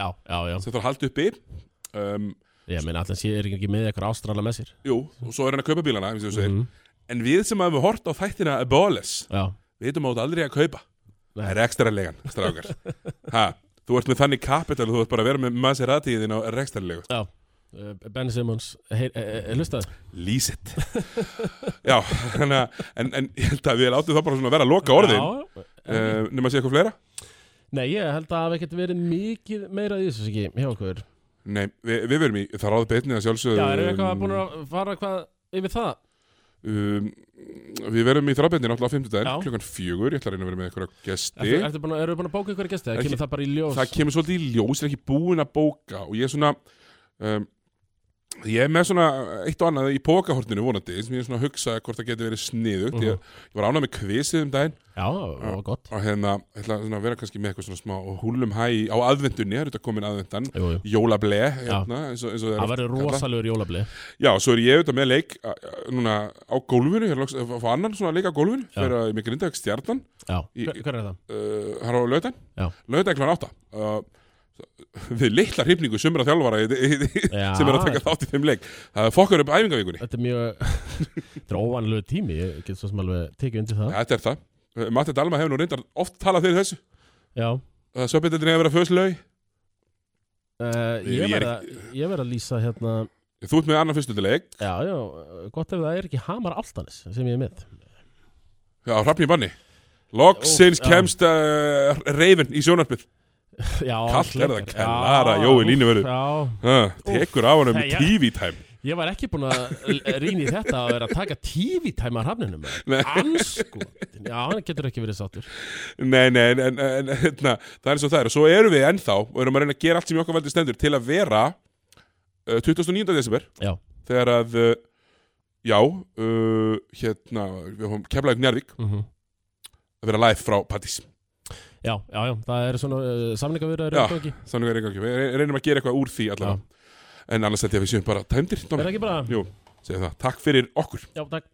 S2: Já, já, já,
S1: sem þarf að halda uppi um,
S2: ég meina allan sé er ekki með eitthvað ástrala með sér
S1: Jú, og svo er hann að kaupa bílana eins og þú segir.
S2: Mhm.
S1: En við sem hafum hort á þættina Abolis
S2: Já,
S1: Vitum að þú átt aldrei að kaupa
S2: Nei.
S1: Það er ekstra legan, strákar ha, Þú ert með þannig kapital Þú ert bara að vera með Maserati þín á ekstra legu
S2: já Eh, Ben Simmons, hey, eh, hey, hey, hlustaði
S1: Lýs it Já, þannig að en, en ég held að við látum það bara svona vera að loka orðin uh,
S2: Já,
S1: Nefn að sé eitthvað fleira
S2: Nei, ég held að það hafi ekkert verið mikið meira í þessu ekki hjá okkur.
S1: Nei, við, við verum í það ráð beinni að sjálfsögðu
S2: Já, erum við eitthvað búin að fara eitthvað yfir það?
S1: um, Við verum í þráðbeinni náttúrulega á
S2: Já.
S1: fimmtudaginn klukkan fjögur, ég ætla að reyna að vera með einhverja gesti
S2: Ertu, ertu búin að, erum við búin að bóka ykkur gesti? Það
S1: Ekki-
S2: kemur það bara í ljós.
S1: Það kemur svolítið í ljós, ég er ekki búin að bóka og ég er svona um, ég er með svona eitt og annað í pókahortinu vonandi, sem ég er svona að hugsa hvort það getur verið sniðugt, ég,
S2: Uh-huh.
S1: ég var ánað með kvisið um daginn
S2: Já, það var gott.
S1: og hérna, ég ætla svona að vera kannski með eitthvað svona smá og húlum hæ í- á aðvendunni, það er þetta komin aðvendan
S2: Jú, jú.
S1: jólablé, hérna, eins og, eins og er
S2: Það
S1: oft
S2: verður
S1: kallað.
S2: rosalegur jólabli.
S1: Já, svo er ég auðvitað með leik a- a- núna á gólfinu, ég er loks að fá annan svona leik á gólfinu,
S2: Já.
S1: fyrir að ég með grindaug stjarnan,
S2: Já,
S1: Í-
S2: hver, hver er það?
S1: uh, hann á lautan
S2: Já.
S1: lautan klána átta uh, við litla hrifningu sumra þjálfara í- í- í-
S2: Já.
S1: sem er að taka þátt í þeim leik það er fokkar upp æfingavíkunni
S2: Þetta er mjög, þetta er óvanlegu tími, ég get svo sem alveg tekið undir það.
S1: þetta er það, Uh, Matti Dalma hefur nú reyndar oft talað fyrir þessu
S2: Já,
S1: að söpindildin hefur verið að föðs laug
S2: uh,
S1: Ég-
S2: ég
S1: ég er
S2: verð að, ég verð að lýsa hérna,
S1: þú ert með annan fyrstöldileik,
S2: já, já, gott ef það er ekki Hamar Altanis sem ég er með.
S1: já, hrafni í banni Loksins
S2: Ó, já.
S1: kemst uh, reyfin í sjónarpið
S2: Já,
S1: Kalt er
S2: klikkar.
S1: það, kellara,
S2: Já,
S1: Jói Línuvörður.
S2: Já,
S1: uh, tekur á hann um
S2: Nei, já.
S1: TV-time
S2: Ég var ekki búinn að rýna í þetta að vera að taka tífitæma af hrafninum
S1: Nei.
S2: Anskotin, já, hann getur ekki verið sáttur
S1: Nei, nei, en, en, en hérna, það er eins og það er og svo erum við ennþá og erum að reyna að gera allt sem í okkar veldi stendur til að vera uh, 29. desember
S2: Já,
S1: þegar að uh, já, uh, hérna við höfum kemlaðið Njárvík að vera live frá Pattís
S2: Mhm. já, já, já, það eru svona uh, samningavirðar
S1: Já.
S2: Er ekki
S1: þannig er einhverjum, við reynum að gera eitthvað úr því allavega, en annars held ég að við séum bara tæmdir,
S2: Er
S1: Dómi,
S2: það ekki bara?
S1: Jú. segja það, takk fyrir okkur
S2: Já, takk